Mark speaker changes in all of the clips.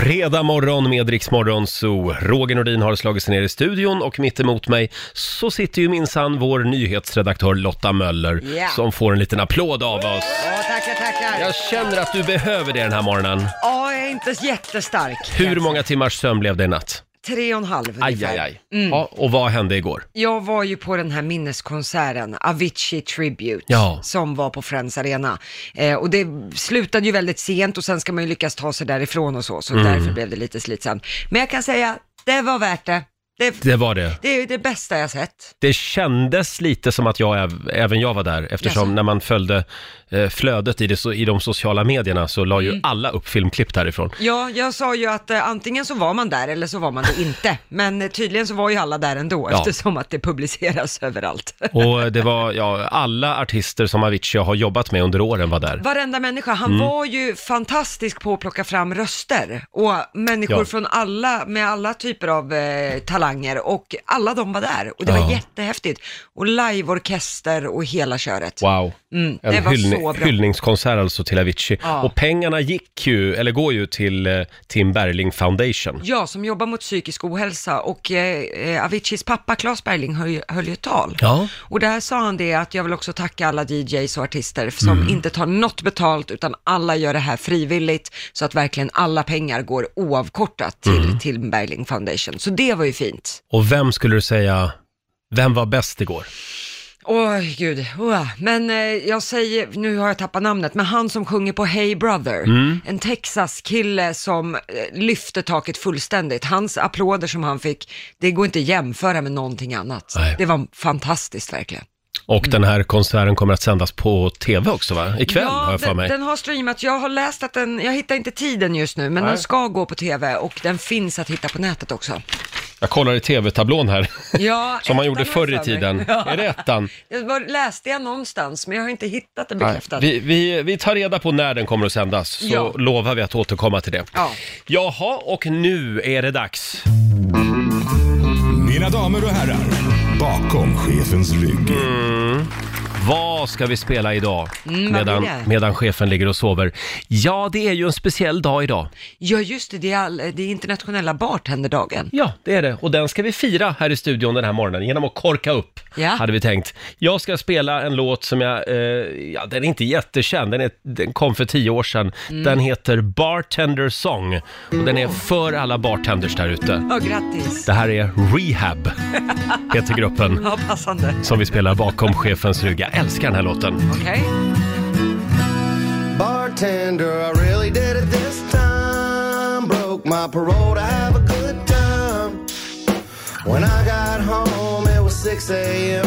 Speaker 1: Fredag morgon med Rix Morgon Zoo. Roger Nordin har slagit sig ner i studion och mitt emot mig så sitter ju minsann vår nyhetsredaktör Lotta Möller
Speaker 2: Ja.
Speaker 1: som får en liten applåd av oss.
Speaker 2: Ja, tackar, tackar.
Speaker 1: Jag känner att du behöver det den här morgonen.
Speaker 2: Ja, jag är inte jättestark.
Speaker 1: Hur många timmars sömn blev det i natt?
Speaker 2: Tre och en halv
Speaker 1: Aj,
Speaker 2: ungefär.
Speaker 1: aj, aj.
Speaker 2: Mm.
Speaker 1: Ja, och vad hände igår?
Speaker 2: Jag var ju på den här minneskonserten, Avicii Tribute,
Speaker 1: Ja.
Speaker 2: som var på Friends Arena. Eh, och det slutade ju väldigt sent och sen ska man ju lyckas ta sig därifrån och så, så
Speaker 1: Mm.
Speaker 2: därför blev det lite slitsamt. Men jag kan säga, det var värt det. Det,
Speaker 1: Det var det.
Speaker 2: det är ju det bästa jag sett.
Speaker 1: Det kändes lite som att jag, äv- även jag var där eftersom
Speaker 2: Jaså?
Speaker 1: när man följde eh, flödet i, det, so- i de sociala medierna så la ju
Speaker 2: Mm.
Speaker 1: alla upp filmklipp därifrån.
Speaker 2: Ja, jag sa ju att eh, antingen så var man där eller så var man det inte. Men eh, tydligen så var ju alla där ändå,
Speaker 1: Ja.
Speaker 2: eftersom att det publiceras överallt.
Speaker 1: Och det var, ja, alla artister som Avicii har jobbat med under åren var där.
Speaker 2: Varenda människa. Han
Speaker 1: Mm.
Speaker 2: var ju fantastisk på att plocka fram röster och människor
Speaker 1: Ja.
Speaker 2: från alla, med alla typer av eh, talanger och alla de var där och det
Speaker 1: Ja.
Speaker 2: var jättehäftigt. Och liveorkester och hela köret.
Speaker 1: Wow.
Speaker 2: Mm, det
Speaker 1: En
Speaker 2: var
Speaker 1: hyllni-
Speaker 2: så bra.
Speaker 1: hyllningskonsert alltså till Avicii.
Speaker 2: Ja.
Speaker 1: Och pengarna gick ju, eller går ju till eh, Tim Bergling Foundation.
Speaker 2: Ja, som jobbar mot psykisk ohälsa och eh, eh, Aviciis pappa Claes Bergling höll, ju- höll ju ett tal.
Speaker 1: Ja.
Speaker 2: Och där sa han det att jag vill också tacka alla DJs och artister som
Speaker 3: Mm.
Speaker 2: inte tar något betalt utan alla gör det här frivilligt så att verkligen alla pengar går oavkortat till,
Speaker 1: Mm.
Speaker 2: till Bergling Foundation. Så det var ju fint.
Speaker 1: Och vem skulle du säga, vem var bäst igår?
Speaker 2: Åh gud, Åh. men eh, jag säger, nu har jag tappat namnet, men han som sjunger på Hey Brother,
Speaker 1: Mm.
Speaker 2: en Texas-kille som eh, lyfte taket fullständigt. Hans applåder som han fick, det går inte att jämföra med någonting annat.
Speaker 1: Nej.
Speaker 2: Det var fantastiskt verkligen. Mm.
Speaker 1: Och den här konserten kommer att sändas på tv också va? Ikväll har jag för
Speaker 2: den,
Speaker 1: mig.
Speaker 2: den har streamat, jag har läst att den, jag hittar inte tiden just nu, men
Speaker 1: Nej.
Speaker 2: den ska gå på tv och den finns att hitta på nätet också.
Speaker 1: Jag kollar i tv-tablån här,
Speaker 2: Ja,
Speaker 1: som man
Speaker 2: ettan
Speaker 1: gjorde
Speaker 2: har
Speaker 1: förr i
Speaker 2: jag för mig.
Speaker 1: tiden.
Speaker 2: Ja.
Speaker 1: Är det ettan?
Speaker 2: Det var, läste jag någonstans, men jag har inte hittat det
Speaker 1: Nej.
Speaker 2: bekräftat.
Speaker 1: Vi, vi, vi tar reda på när den kommer att sändas, så
Speaker 2: Ja.
Speaker 1: lovar vi att återkomma till det.
Speaker 2: Ja.
Speaker 1: Jaha, och nu är det dags.
Speaker 4: Mina damer och herrar, bakom chefens rygg.
Speaker 1: Mm. Vad ska vi spela idag?
Speaker 2: Mm, vad
Speaker 1: medan,
Speaker 2: blir det?
Speaker 1: medan chefen ligger och sover. Ja, det är ju en speciell dag idag.
Speaker 2: Ja, just det, det är, all, det är internationella bartenderdagen.
Speaker 1: Ja, det är det. Och den ska vi fira här i studion den här morgonen genom att korka upp,
Speaker 2: Ja.
Speaker 1: hade vi tänkt. Jag ska spela en låt som jag, eh, ja den är inte jättekänd, den, är, den kom för tio år sedan.
Speaker 2: Mm.
Speaker 1: Den heter Bartender Song och den är för alla bartenders där ute.
Speaker 2: Ja, grattis.
Speaker 1: Det här är Rehab, heter gruppen,
Speaker 2: Ja, passande.
Speaker 1: som vi spelar bakom chefens rygg. Jag älskar den här låten.
Speaker 2: Okej.
Speaker 5: Bartender, I really did it this time. Broke my parole to have a good time. When I got home, it was 6 a.m.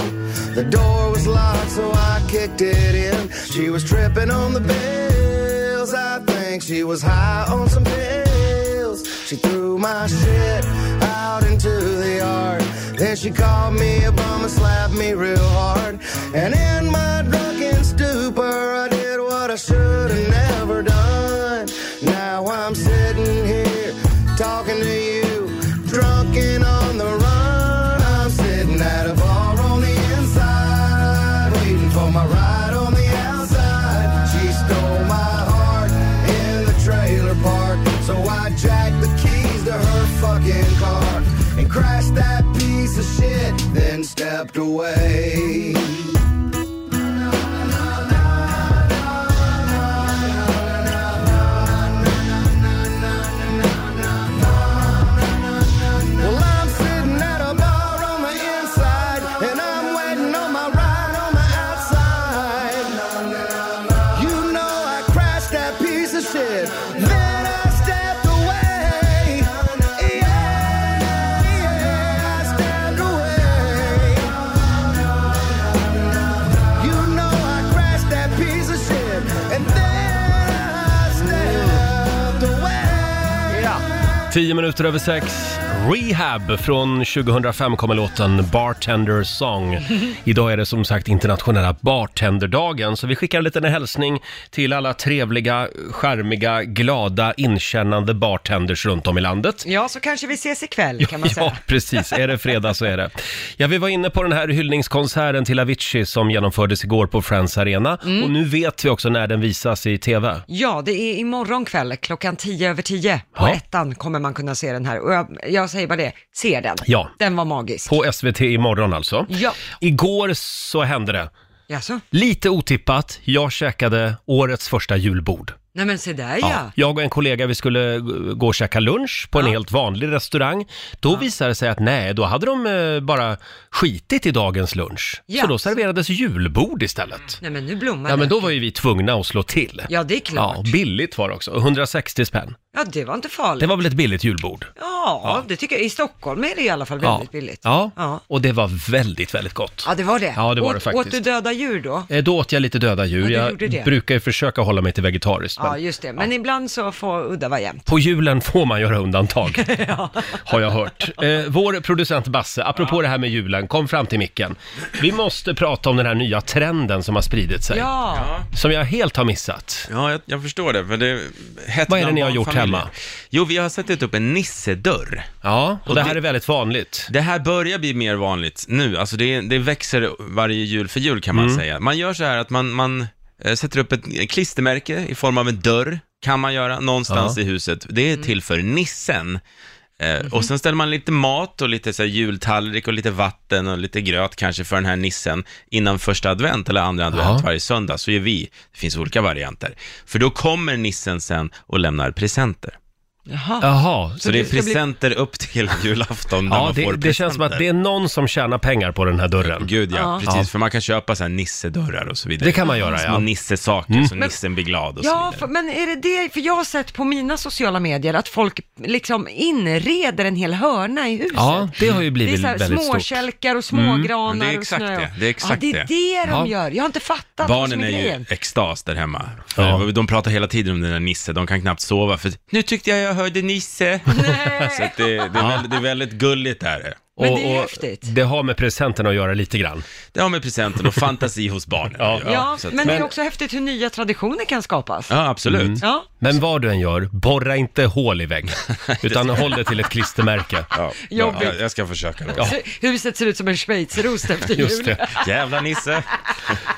Speaker 5: The door was locked, so I kicked it in. She was tripping on the bills. I think she was high on some pills. She threw my shit out into the yard. Then she called me a bum and slapped me real hard. And in my drunken stupor, I did what I should have never done. Now I'm sitting here talking to you, drunk and on the run. I'm sitting at a bar on the inside, waiting for my ride on the outside. She stole my heart in the trailer park, so I jacked the keys to her fucking car and crashed that piece of shit, then stepped away. Well, I'm sitting at a bar on the inside, and I'm waiting on my ride on the outside. You know I crashed that piece of shit. Then I stepped away. Yeah, yeah, I stepped away.
Speaker 1: Tio minuter över sex. Rehab från 2005 kommer låten Bartender Song. Idag är det som sagt internationella bartenderdagen, så vi skickar en liten hälsning till alla trevliga, charmiga, glada, inkännande bartenders runt om i landet.
Speaker 2: Ja, så kanske vi ses ikväll kan man
Speaker 1: Ja,
Speaker 2: säga.
Speaker 1: precis. Är det fredag så är det. Ja, vi var inne på den här hyllningskonserten till Avicii som genomfördes igår på Friends Arena.
Speaker 2: Mm.
Speaker 1: Och nu vet vi också när den visas i TV.
Speaker 2: Ja, det är imorgon kväll klockan tio över tio. På
Speaker 1: Ja.
Speaker 2: ettan kommer man kunna se den här. Och jag, jag säger bara det, se den.
Speaker 1: Ja.
Speaker 2: Den var magisk.
Speaker 1: På SVT imorgon alltså.
Speaker 2: Ja.
Speaker 1: Igår så hände det.
Speaker 2: Jaså?
Speaker 1: Lite otippat, jag käkade årets första julbord.
Speaker 2: Nej men se där
Speaker 1: Ja.
Speaker 2: ja.
Speaker 1: Jag och en kollega, vi skulle eh, gå och käka lunch på en helt vanlig restaurang. Då visade det sig att nej, då hade de eh, bara skitit i dagens lunch. Så
Speaker 2: Ja.
Speaker 1: då serverades julbord istället.
Speaker 2: Nej men nu blommar
Speaker 1: Ja, men
Speaker 2: det.
Speaker 1: då var ju vi tvungna att slå till.
Speaker 2: Ja, det är klart.
Speaker 1: Ja, billigt var det också. 160 spänn.
Speaker 2: Ja, det var inte farligt.
Speaker 1: Det var väl ett billigt julbord?
Speaker 2: Ja, det tycker jag. I Stockholm är det i alla fall väldigt
Speaker 1: ja.
Speaker 2: billigt.
Speaker 1: Ja.
Speaker 2: ja.
Speaker 1: och det var väldigt, väldigt gott.
Speaker 2: Ja, det var det.
Speaker 1: Ja, det var
Speaker 2: åt,
Speaker 1: det faktiskt.
Speaker 2: Åt du döda djur då?
Speaker 1: Eh, Då åt jag lite döda djur.
Speaker 2: Ja, du gjorde
Speaker 1: jag
Speaker 2: det.
Speaker 1: brukar ju försöka hålla mig till vegetariskt.
Speaker 2: Ja,
Speaker 1: men
Speaker 2: just det. Men ibland så får udda vara jämnt.
Speaker 1: På julen får man göra undantag, har jag hört. Eh, vår producent Basse, apropå det här med julen, kom fram till micken. Vi måste prata om den här nya trenden som har spridit sig,
Speaker 2: Ja,
Speaker 1: som jag helt har missat.
Speaker 3: Ja, jag, jag förstår det. Men det hett
Speaker 1: Vad är det
Speaker 3: bland
Speaker 1: ni har gjort
Speaker 3: barnfamiljer.
Speaker 1: hemma?
Speaker 3: Jo, vi har satt upp en nissedörr.
Speaker 1: Ja, och det här
Speaker 3: det-
Speaker 1: är väldigt vanligt.
Speaker 3: Det här börjar bli mer vanligt nu. Alltså det, det växer varje jul för jul kan man
Speaker 1: Mm.
Speaker 3: säga. Man gör så här att man, man eh, sätter upp ett klistermärke i form av en dörr, kan man göra, någonstans
Speaker 1: Ja.
Speaker 3: i huset. Det är till för nissen. Eh, Och sen ställer man lite mat och lite så här jultallrik och lite vatten och lite gröt kanske för den här nissen innan första advent eller andra advent varje söndag. Så gör vi, det finns olika varianter. För då kommer nissen sen och lämnar presenter.
Speaker 2: jaha.
Speaker 1: Jaha,
Speaker 3: Så det är
Speaker 2: det ska bli-
Speaker 3: presenter upp till julafton när
Speaker 1: ja,
Speaker 3: man får
Speaker 1: det, det känns som att
Speaker 3: presenter.
Speaker 1: det är någon som tjänar pengar på den här dörren.
Speaker 3: Gud ja,
Speaker 2: Ja.
Speaker 3: precis.
Speaker 1: Ja.
Speaker 3: För man kan köpa så här nissedörrar och så vidare.
Speaker 1: Det kan man göra,
Speaker 3: Små
Speaker 1: ja. Mm.
Speaker 3: nissesaker så nissen blir glad och
Speaker 2: Ja,
Speaker 3: så
Speaker 2: för,
Speaker 3: vidare.
Speaker 2: men är det det, för jag har sett på mina sociala medier att folk liksom inreder en hel hörna i huset.
Speaker 1: Ja, det har
Speaker 2: Det
Speaker 1: ju
Speaker 2: är
Speaker 1: blivit
Speaker 2: så här
Speaker 1: väldigt stort.
Speaker 2: småkälkar och smågranar
Speaker 3: Mm, det är
Speaker 2: och
Speaker 3: exakt
Speaker 2: snö.
Speaker 3: det. Det är exakt
Speaker 2: ja, det.
Speaker 3: det.
Speaker 2: är det de
Speaker 1: Ja.
Speaker 2: gör. Jag har inte fattat vad
Speaker 3: Barnen
Speaker 2: som är
Speaker 3: är ju
Speaker 2: grejen.
Speaker 3: extas där hemma.
Speaker 1: Ja.
Speaker 3: För De pratar hela tiden om den där Nisse, de kan knappt sova för nu tyckte jag jag hörde Nisse. Så att det, det, är väldigt, det är väldigt gulligt där.
Speaker 2: Men det är ju häftigt.
Speaker 1: Det har med presenten att göra lite grann.
Speaker 3: Det har med presenten och fantasi hos barnen
Speaker 1: Ja.
Speaker 3: att
Speaker 2: Ja,
Speaker 3: göra. Så att-
Speaker 2: men, det är också häftigt hur nya traditioner kan skapas. Mm.
Speaker 3: Ja, absolut.
Speaker 2: Ja.
Speaker 1: Mm. Men vad du än gör, borra inte hål i väggen, utan håll det till ett klistermärke.
Speaker 3: Ja,
Speaker 2: Jobbigt.
Speaker 3: jag, jag ska försöka då.
Speaker 1: Ja.
Speaker 2: Alltså, Huset ser ut som en schweizerost efter jul.
Speaker 1: Just det.
Speaker 3: Jävla Nisse.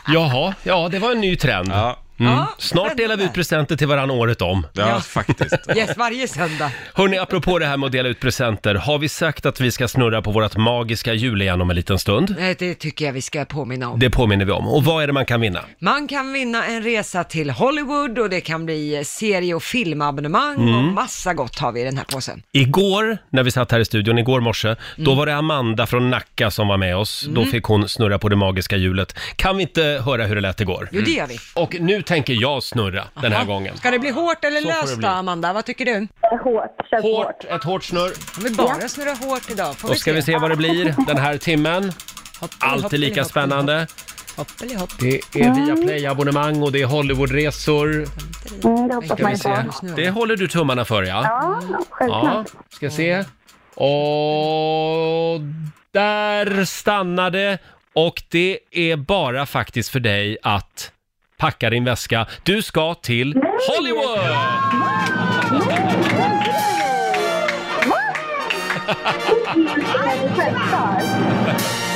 Speaker 1: Jaha, ja det var en ny trend.
Speaker 3: Ja,
Speaker 1: Mm.
Speaker 2: Ja,
Speaker 1: Snart delar vi ut
Speaker 2: spännande.
Speaker 1: presenter till varandra året om.
Speaker 3: ja,
Speaker 2: Ja.
Speaker 3: faktiskt.
Speaker 2: Yes, varje söndag.
Speaker 1: Hörni, apropå det här med att dela ut presenter, har vi sagt att vi ska snurra på vårt magiska hjul igen om en liten stund?
Speaker 2: Nej, Det tycker jag vi ska påminna om.
Speaker 1: Det påminner vi om. Och vad är det man kan vinna?
Speaker 2: Man kan vinna en resa till Hollywood och det kan bli serie och filmabonnemang och
Speaker 1: Mm.
Speaker 2: massa gott har vi i den här påsen.
Speaker 1: Igår, när vi satt här i studion, igår morse,
Speaker 2: Mm.
Speaker 1: då var det Amanda från Nacka som var med oss. Då fick hon snurra på det magiska hjulet. Kan vi inte höra hur det lät igår?
Speaker 2: Jo, det gör vi.
Speaker 1: Och nu tänker jag snurra den här gången.
Speaker 2: Ska det bli hårt eller
Speaker 1: Så får det
Speaker 2: löst
Speaker 1: bli.
Speaker 2: då, Amanda? Vad tycker du?
Speaker 6: Hårt, känns hårt.
Speaker 1: Hårt, ett hårt snurr.
Speaker 2: Om vi bara snurrar hårt idag, får
Speaker 1: Då ska vi se vad det blir den här timmen. Alltid lika spännande.
Speaker 2: Hoppelihopp.
Speaker 1: Det är Viaplay-abonnemang och det är Hollywoodresor.
Speaker 6: Mm, det hoppas
Speaker 1: Ska
Speaker 6: man
Speaker 1: vi
Speaker 6: ju
Speaker 1: se.
Speaker 6: på.
Speaker 1: Det håller du tummarna för ja.
Speaker 6: Ja,
Speaker 1: Ja,
Speaker 6: självklart.
Speaker 1: ska se. Och där stannar det. Och det är bara faktiskt för dig att packa din väska. Du ska till
Speaker 6: Mm.
Speaker 1: Hollywood!
Speaker 6: Ja. Det är självklart.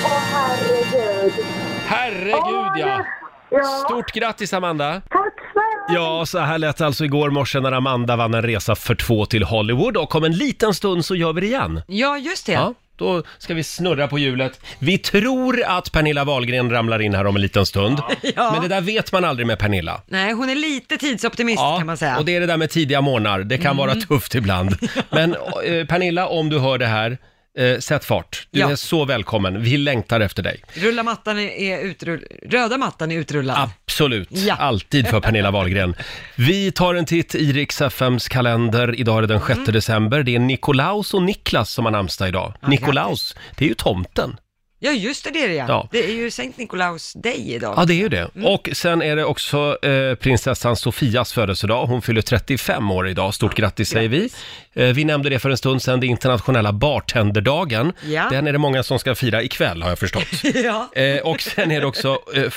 Speaker 6: Åh, herregud.
Speaker 1: Herregud ja!
Speaker 6: Ja,
Speaker 1: Stort grattis Amanda!
Speaker 6: tack snälla.
Speaker 1: Ja, så här lät det alltså igår morse när Amanda vann en resa för två till Hollywood och om en liten stund så gör vi det igen.
Speaker 2: Ja, just det.
Speaker 1: Ja, då ska vi snurra på hjulet. Vi tror att Pernilla Wahlgren ramlar in här om en liten stund.
Speaker 2: Ja.
Speaker 1: Men det där vet man aldrig med Pernilla.
Speaker 2: Nej, hon är lite tidsoptimist kan man säga. Mm.
Speaker 1: och det är det där med tidiga morgnar. Det kan vara tufft ibland. Men eh, Pernilla, om du hör det här, eh, sätt fart. Du
Speaker 2: Ja.
Speaker 1: är så välkommen. Vi längtar efter dig.
Speaker 2: Rulla mattan är utrull... Röda mattan är utrullad.
Speaker 1: Absolut,
Speaker 2: Ja.
Speaker 1: alltid för Pernilla Wahlgren. Vi tar en titt i Rix FMs kalender. Idag är det den 6
Speaker 2: Mm.
Speaker 1: december. Det är Nikolaus och Niklas som har namnsdag idag. Nikolaus, det är ju tomten.
Speaker 2: Ja, just det, det är det
Speaker 1: Ja.
Speaker 2: ja. Det är ju Sankt Nikolaus Day idag.
Speaker 1: Ja, det är ju det.
Speaker 2: Mm.
Speaker 1: Och sen är det också eh, prinsessan Sofias födelsedag. Hon fyller 35 år idag. Stort grattis säger vi. Eh, vi nämnde det för en stund sedan, det är internationella bartenderdagen.
Speaker 2: Ja.
Speaker 1: Den är det många som ska fira ikväll har jag förstått.
Speaker 2: ja.
Speaker 1: eh, och sen är det också eh,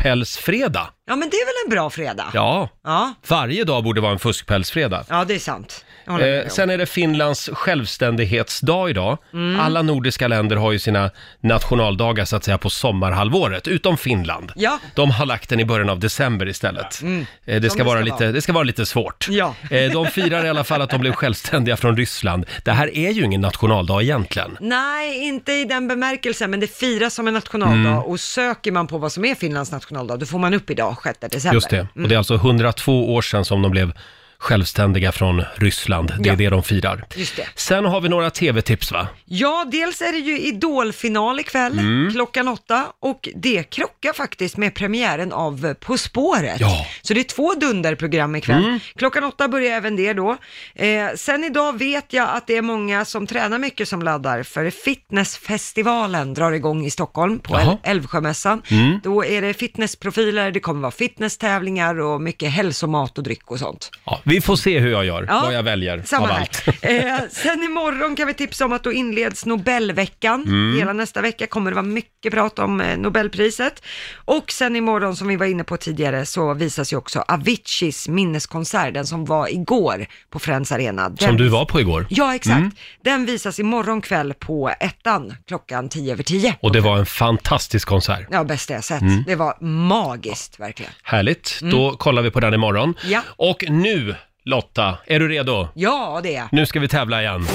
Speaker 1: fuskpälsfredag.
Speaker 2: ja, men det är väl en bra fredag?
Speaker 1: Ja,
Speaker 2: Ja,
Speaker 1: varje dag borde vara en fuskpälsfredag.
Speaker 2: ja det är sant. Jag håller med
Speaker 1: Eh,
Speaker 2: om.
Speaker 1: sen är det Finlands självständighetsdag idag.
Speaker 2: Mm.
Speaker 1: Alla nordiska länder har ju sina nationaldagar så att säga på sommarhalvåret, utom Finland.
Speaker 2: Ja.
Speaker 1: De har lagt den i början av december istället. Eh, det, ska
Speaker 2: det
Speaker 1: vara
Speaker 2: Mm. ska
Speaker 1: lite,
Speaker 2: vara.
Speaker 1: det ska vara lite svårt.
Speaker 2: Ja.
Speaker 1: Eh, de firar i alla fall att de blev självständiga från Ryssland. Det här är ju ingen nationaldag egentligen.
Speaker 2: Nej, inte i den bemärkelsen, men det firas som en nationaldag
Speaker 1: Mm.
Speaker 2: och söker man på vad som är Finlands nationaldag, då får man upp idag, 6 december. Mm.
Speaker 1: Just det. Och det är alltså 102 år sedan som de blev självständiga från Ryssland. Det är
Speaker 2: Ja.
Speaker 1: det de firar.
Speaker 2: Just det.
Speaker 1: Sen har vi några tv-tips va?
Speaker 2: Ja, dels är det ju idolfinal ikväll
Speaker 1: Mm.
Speaker 2: klockan åtta och det krockar faktiskt med premiären av På spåret.
Speaker 1: Ja. Mm.
Speaker 2: Så det är två dunderprogram ikväll. Klockan åtta börjar även det då. Eh, sen idag vet jag att det är många som tränar mycket som laddar för fitnessfestivalen drar igång i Stockholm på
Speaker 1: Jaha.
Speaker 2: El- Älvsjömässan. Då är det fitnessprofiler, det kommer vara fitnesstävlingar och mycket hälsomat och dryck och sånt.
Speaker 1: Ja, vi får se hur jag gör,
Speaker 2: Ja,
Speaker 1: vad jag väljer
Speaker 2: Samma
Speaker 1: av
Speaker 2: här.
Speaker 1: allt.
Speaker 2: Eh, sen imorgon kan vi tipsa om att då inleds Nobelveckan.
Speaker 1: Mm.
Speaker 2: Hela nästa vecka kommer det vara mycket prat om eh, Nobelpriset. Och sen imorgon, som vi var inne på tidigare, så visas ju också Aviciis minneskonsert, den som var igår på Friends Arena. Den,
Speaker 1: Som du var på igår. Mm.
Speaker 2: Ja, exakt. Den visas imorgon kväll på ettan, klockan tio över tio.
Speaker 1: Och Mm. det var en fantastisk konsert.
Speaker 2: Ja, bästa jag sett. Det var magiskt, verkligen.
Speaker 1: Härligt, då kollar vi på den imorgon.
Speaker 2: Mm. Ja.
Speaker 1: Och nu Lotta, är du redo?
Speaker 2: Ja, det är
Speaker 1: Nu ska vi tävla igen.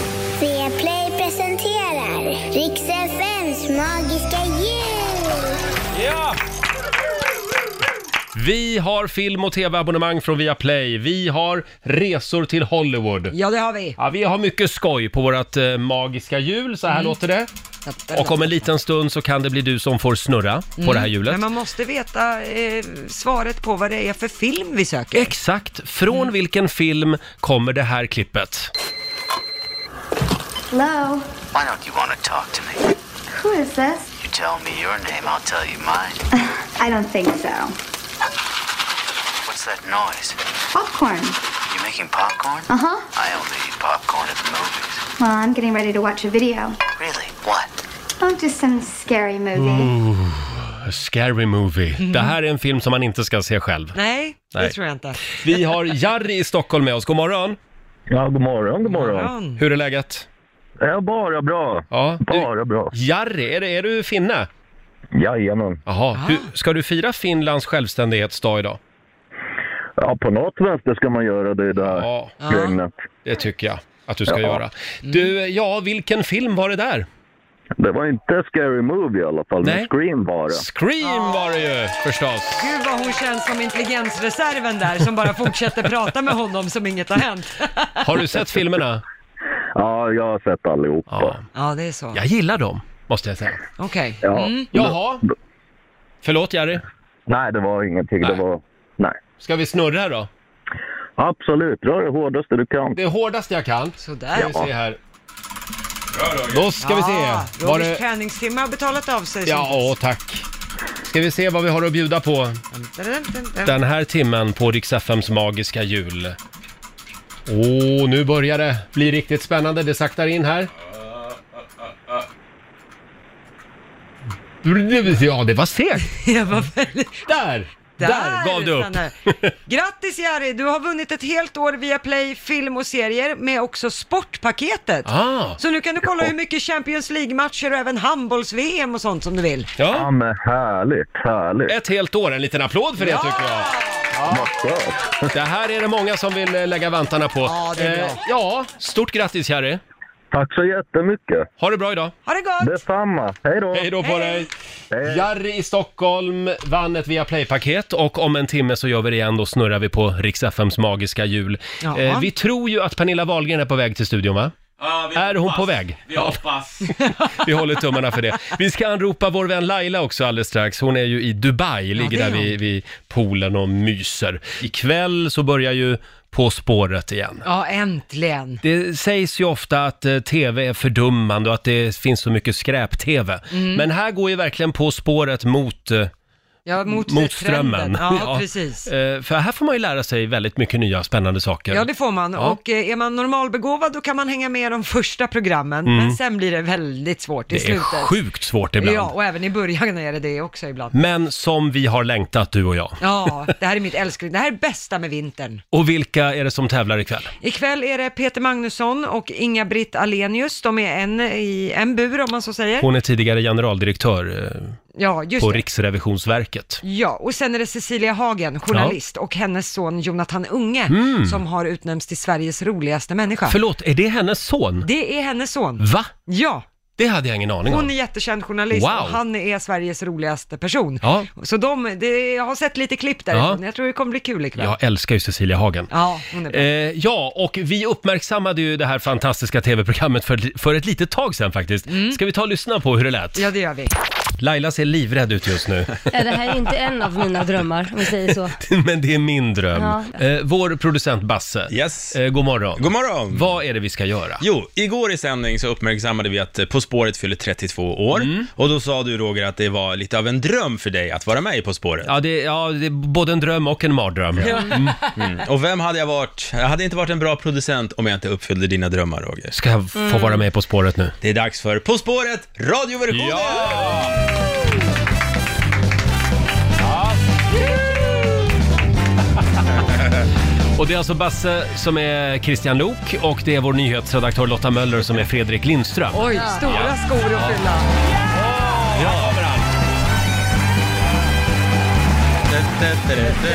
Speaker 7: Play presenterar Rix FMs magiska jul!
Speaker 1: Ja! Vi har film och tv-abonnemang från Viaplay. Vi har resor till Hollywood.
Speaker 2: Ja, det har vi.
Speaker 1: Ja, vi har mycket skoj på vårt eh, magiska jul, så här
Speaker 2: Mm.
Speaker 1: låter det. Och om en liten stund så kan det bli du som får snurra på det här hjulet.
Speaker 2: Mm. Men man måste veta eh, svaret på vad det är för film vi söker.
Speaker 1: Exakt, från vilken film kommer det här klippet?
Speaker 7: Hello,
Speaker 8: Why don't you want to talk to me?
Speaker 7: who is this?
Speaker 8: You tell me your name, I'll tell you mine.
Speaker 7: I don't think so.
Speaker 8: What's that noise?
Speaker 7: Popcorn.
Speaker 8: You making popcorn?
Speaker 7: Uh huh.
Speaker 8: I only eat popcorn at the movies.
Speaker 7: Well, I'm getting ready to watch a video.
Speaker 8: Really? What?
Speaker 7: Oh, just some scary movie.
Speaker 1: A scary movie. Det här är en film som man inte ska se själv.
Speaker 2: Mm. Nej, det
Speaker 1: Nej.
Speaker 2: tror jag inte.
Speaker 1: Vi har Jari i Stockholm med oss. God morgon!
Speaker 9: Ja, god morgon, god morgon.
Speaker 2: Morgon.
Speaker 1: Hur är läget?
Speaker 9: Ja, bara bra.
Speaker 1: Ja, du,
Speaker 9: Bara bra.
Speaker 1: Jari, är, det- är du finne?
Speaker 9: Jajamän.
Speaker 1: Jaha, hur, ska du fira Finlands självständighetsdag idag?
Speaker 9: Ja, på något vänster ska man göra det där
Speaker 1: Ja,
Speaker 9: regnet.
Speaker 1: det tycker jag att du ska
Speaker 9: Ja.
Speaker 1: göra. Du, ja, vilken film var det där?
Speaker 9: Det var inte Scary Movie i alla fall,
Speaker 1: Nej.
Speaker 9: men Scream var det.
Speaker 1: Scream var det ju förstås!
Speaker 2: Gud vad hon känns som intelligensreserven där som bara fortsätter prata med honom som inget har hänt.
Speaker 1: Har du sett filmerna?
Speaker 9: Ja, jag har sett allihopa.
Speaker 1: Ja.
Speaker 2: Ja, det är så.
Speaker 1: Jag gillar dem, måste jag säga.
Speaker 2: Okej. Mm.
Speaker 9: Ja.
Speaker 1: Mm. Jaha! Förlåt Jari,
Speaker 9: Nej, det var ingenting.
Speaker 1: Nej.
Speaker 9: Det var... Nej.
Speaker 1: ska vi snurra då?
Speaker 9: Absolut, rör det hårdaste du kan.
Speaker 1: Det hårdaste jag kan.
Speaker 2: Sådär.
Speaker 1: Ska vi se här. Då ska vi
Speaker 2: Ja,
Speaker 1: se. Var
Speaker 2: Rogers
Speaker 1: det...
Speaker 2: träningstimme har betalat av sig.
Speaker 1: Ja, åh, tack. Ska vi se vad vi har att bjuda på den här timmen på Rix FMs magiska jul. Åh, nu börjar det bli riktigt spännande. Det saktar in här. Ja, det var segt.
Speaker 2: Jag var väldigt...
Speaker 1: Där! Där, gav du upp.
Speaker 2: stannar jag. Grattis Jari, du har vunnit ett helt år via Play film och serier med också sportpaketet.
Speaker 1: Ah,
Speaker 2: Så nu kan du kolla hur mycket Champions League-matcher och även handbolls-VM och sånt som du vill.
Speaker 9: Ja,
Speaker 1: ja.
Speaker 9: men härligt, härligt.
Speaker 1: Ett helt år. En liten applåd för det tycker jag.
Speaker 9: Vad skönt.
Speaker 1: Det här är det många som vill eh, lägga vantarna på.
Speaker 2: Ja, det är bra.
Speaker 1: Eh, ja, stort grattis Jerry.
Speaker 9: Tack så jättemycket.
Speaker 1: Ha det bra idag.
Speaker 2: Ha det gott!
Speaker 9: Detsamma. Hej då.
Speaker 1: Hej då på dig!
Speaker 2: Hej.
Speaker 1: Jerry i Stockholm vann ett Viaplay-paket och om en timme så gör vi det igen. Då snurrar vi på Rix FMs magiska hjul.
Speaker 2: Ja.
Speaker 1: Eh, vi tror ju att Pernilla Wahlgren är på väg till studion va? Är hon på väg?
Speaker 3: Vi hoppas.
Speaker 1: Vi håller tummarna för det. Vi ska anropa vår vän Laila också alldeles strax. Hon är ju i Dubai, ligger
Speaker 2: det är
Speaker 1: där vid, vid poolen och myser. Ikväll så börjar ju På spåret igen.
Speaker 2: Ja, äntligen.
Speaker 1: Det sägs ju ofta att eh, tv är fördummande och att det finns så mycket skräp-tv.
Speaker 2: Mm.
Speaker 1: Men här går ju verkligen På spåret mot, eh,
Speaker 2: Ja, mot, trenden.
Speaker 1: mot strömmen.
Speaker 2: Ja, precis.
Speaker 1: Eh, För här får man ju lära sig väldigt mycket nya spännande saker.
Speaker 2: Ja, det får man.
Speaker 1: Ja.
Speaker 2: Och eh, är man normalbegåvad då kan man hänga med i de första programmen, men sen blir det väldigt svårt i
Speaker 1: Mm. Det är
Speaker 2: slutet.
Speaker 1: sjukt svårt ibland. Mm.
Speaker 2: Ja, och även i början är det det också ibland.
Speaker 1: Men som vi har längtat, du och jag.
Speaker 2: Ja, det här är mitt älskling. Det här är bästa med vintern.
Speaker 1: Och vilka är det som tävlar ikväll?
Speaker 2: Ikväll är det Peter Magnusson och Inga-Britt Alenius. De är en i en bur om man så säger.
Speaker 1: Hon är tidigare generaldirektör eh,
Speaker 2: Ja, just
Speaker 1: på
Speaker 2: det.
Speaker 1: Riksrevisionsverket.
Speaker 2: Ja, och sen är det Cecilia Hagen, journalist, och hennes son Jonathan Unge, som har utnämnts till Sveriges roligaste människa.
Speaker 1: Mm. Förlåt, är det hennes son?
Speaker 2: Det är hennes son.
Speaker 1: Va?
Speaker 2: Ja,
Speaker 1: Det hade jag ingen aning
Speaker 2: hon
Speaker 1: om.
Speaker 2: är jättekänd journalist
Speaker 1: Wow.
Speaker 2: och han är Sveriges roligaste person.
Speaker 1: Ja.
Speaker 2: Så de, det, jag har sett lite klipp därifrån. Jag tror det kommer bli kul ikväll. Ja,
Speaker 1: Jag älskar ju Cecilia Hagen.
Speaker 2: hon är bra.
Speaker 1: Eh, ja, och vi uppmärksammade ju det här fantastiska tv-programmet för, för ett litet tag sedan faktiskt. Ska vi ta och lyssna på hur det lät?
Speaker 2: Mm. Ja, det gör vi.
Speaker 1: Laila ser livrädd ut just nu,
Speaker 10: Ja, det här är inte en av mina drömmar, om vi säger så.
Speaker 1: men det är min dröm.
Speaker 10: Ja.
Speaker 1: Eh, vår producent Basse,
Speaker 3: Yes.
Speaker 1: eh, god morgon.
Speaker 3: God morgon!
Speaker 1: Vad är det vi ska göra?
Speaker 3: Jo, igår i sändning så uppmärksammade vi att eh, På spåret fyller 32 år
Speaker 1: Mm.
Speaker 3: och då sa du Roger att det var lite av en dröm för dig att vara med i På spåret.
Speaker 1: Ja, det, ja, det är både en dröm och en mardröm.
Speaker 3: Mm. Och vem hade jag varit? Jag hade inte varit en bra producent om jag inte uppfyllde dina drömmar Roger.
Speaker 1: Ska jag få vara med På spåret nu?
Speaker 3: Det är dags för På spåret radioversionen!
Speaker 1: Och det är alltså Basse som är Christian Lok och det är vår nyhetsredaktör Lotta Möller som är Fredrik Lindström.
Speaker 2: Oj, stora skor att fylla.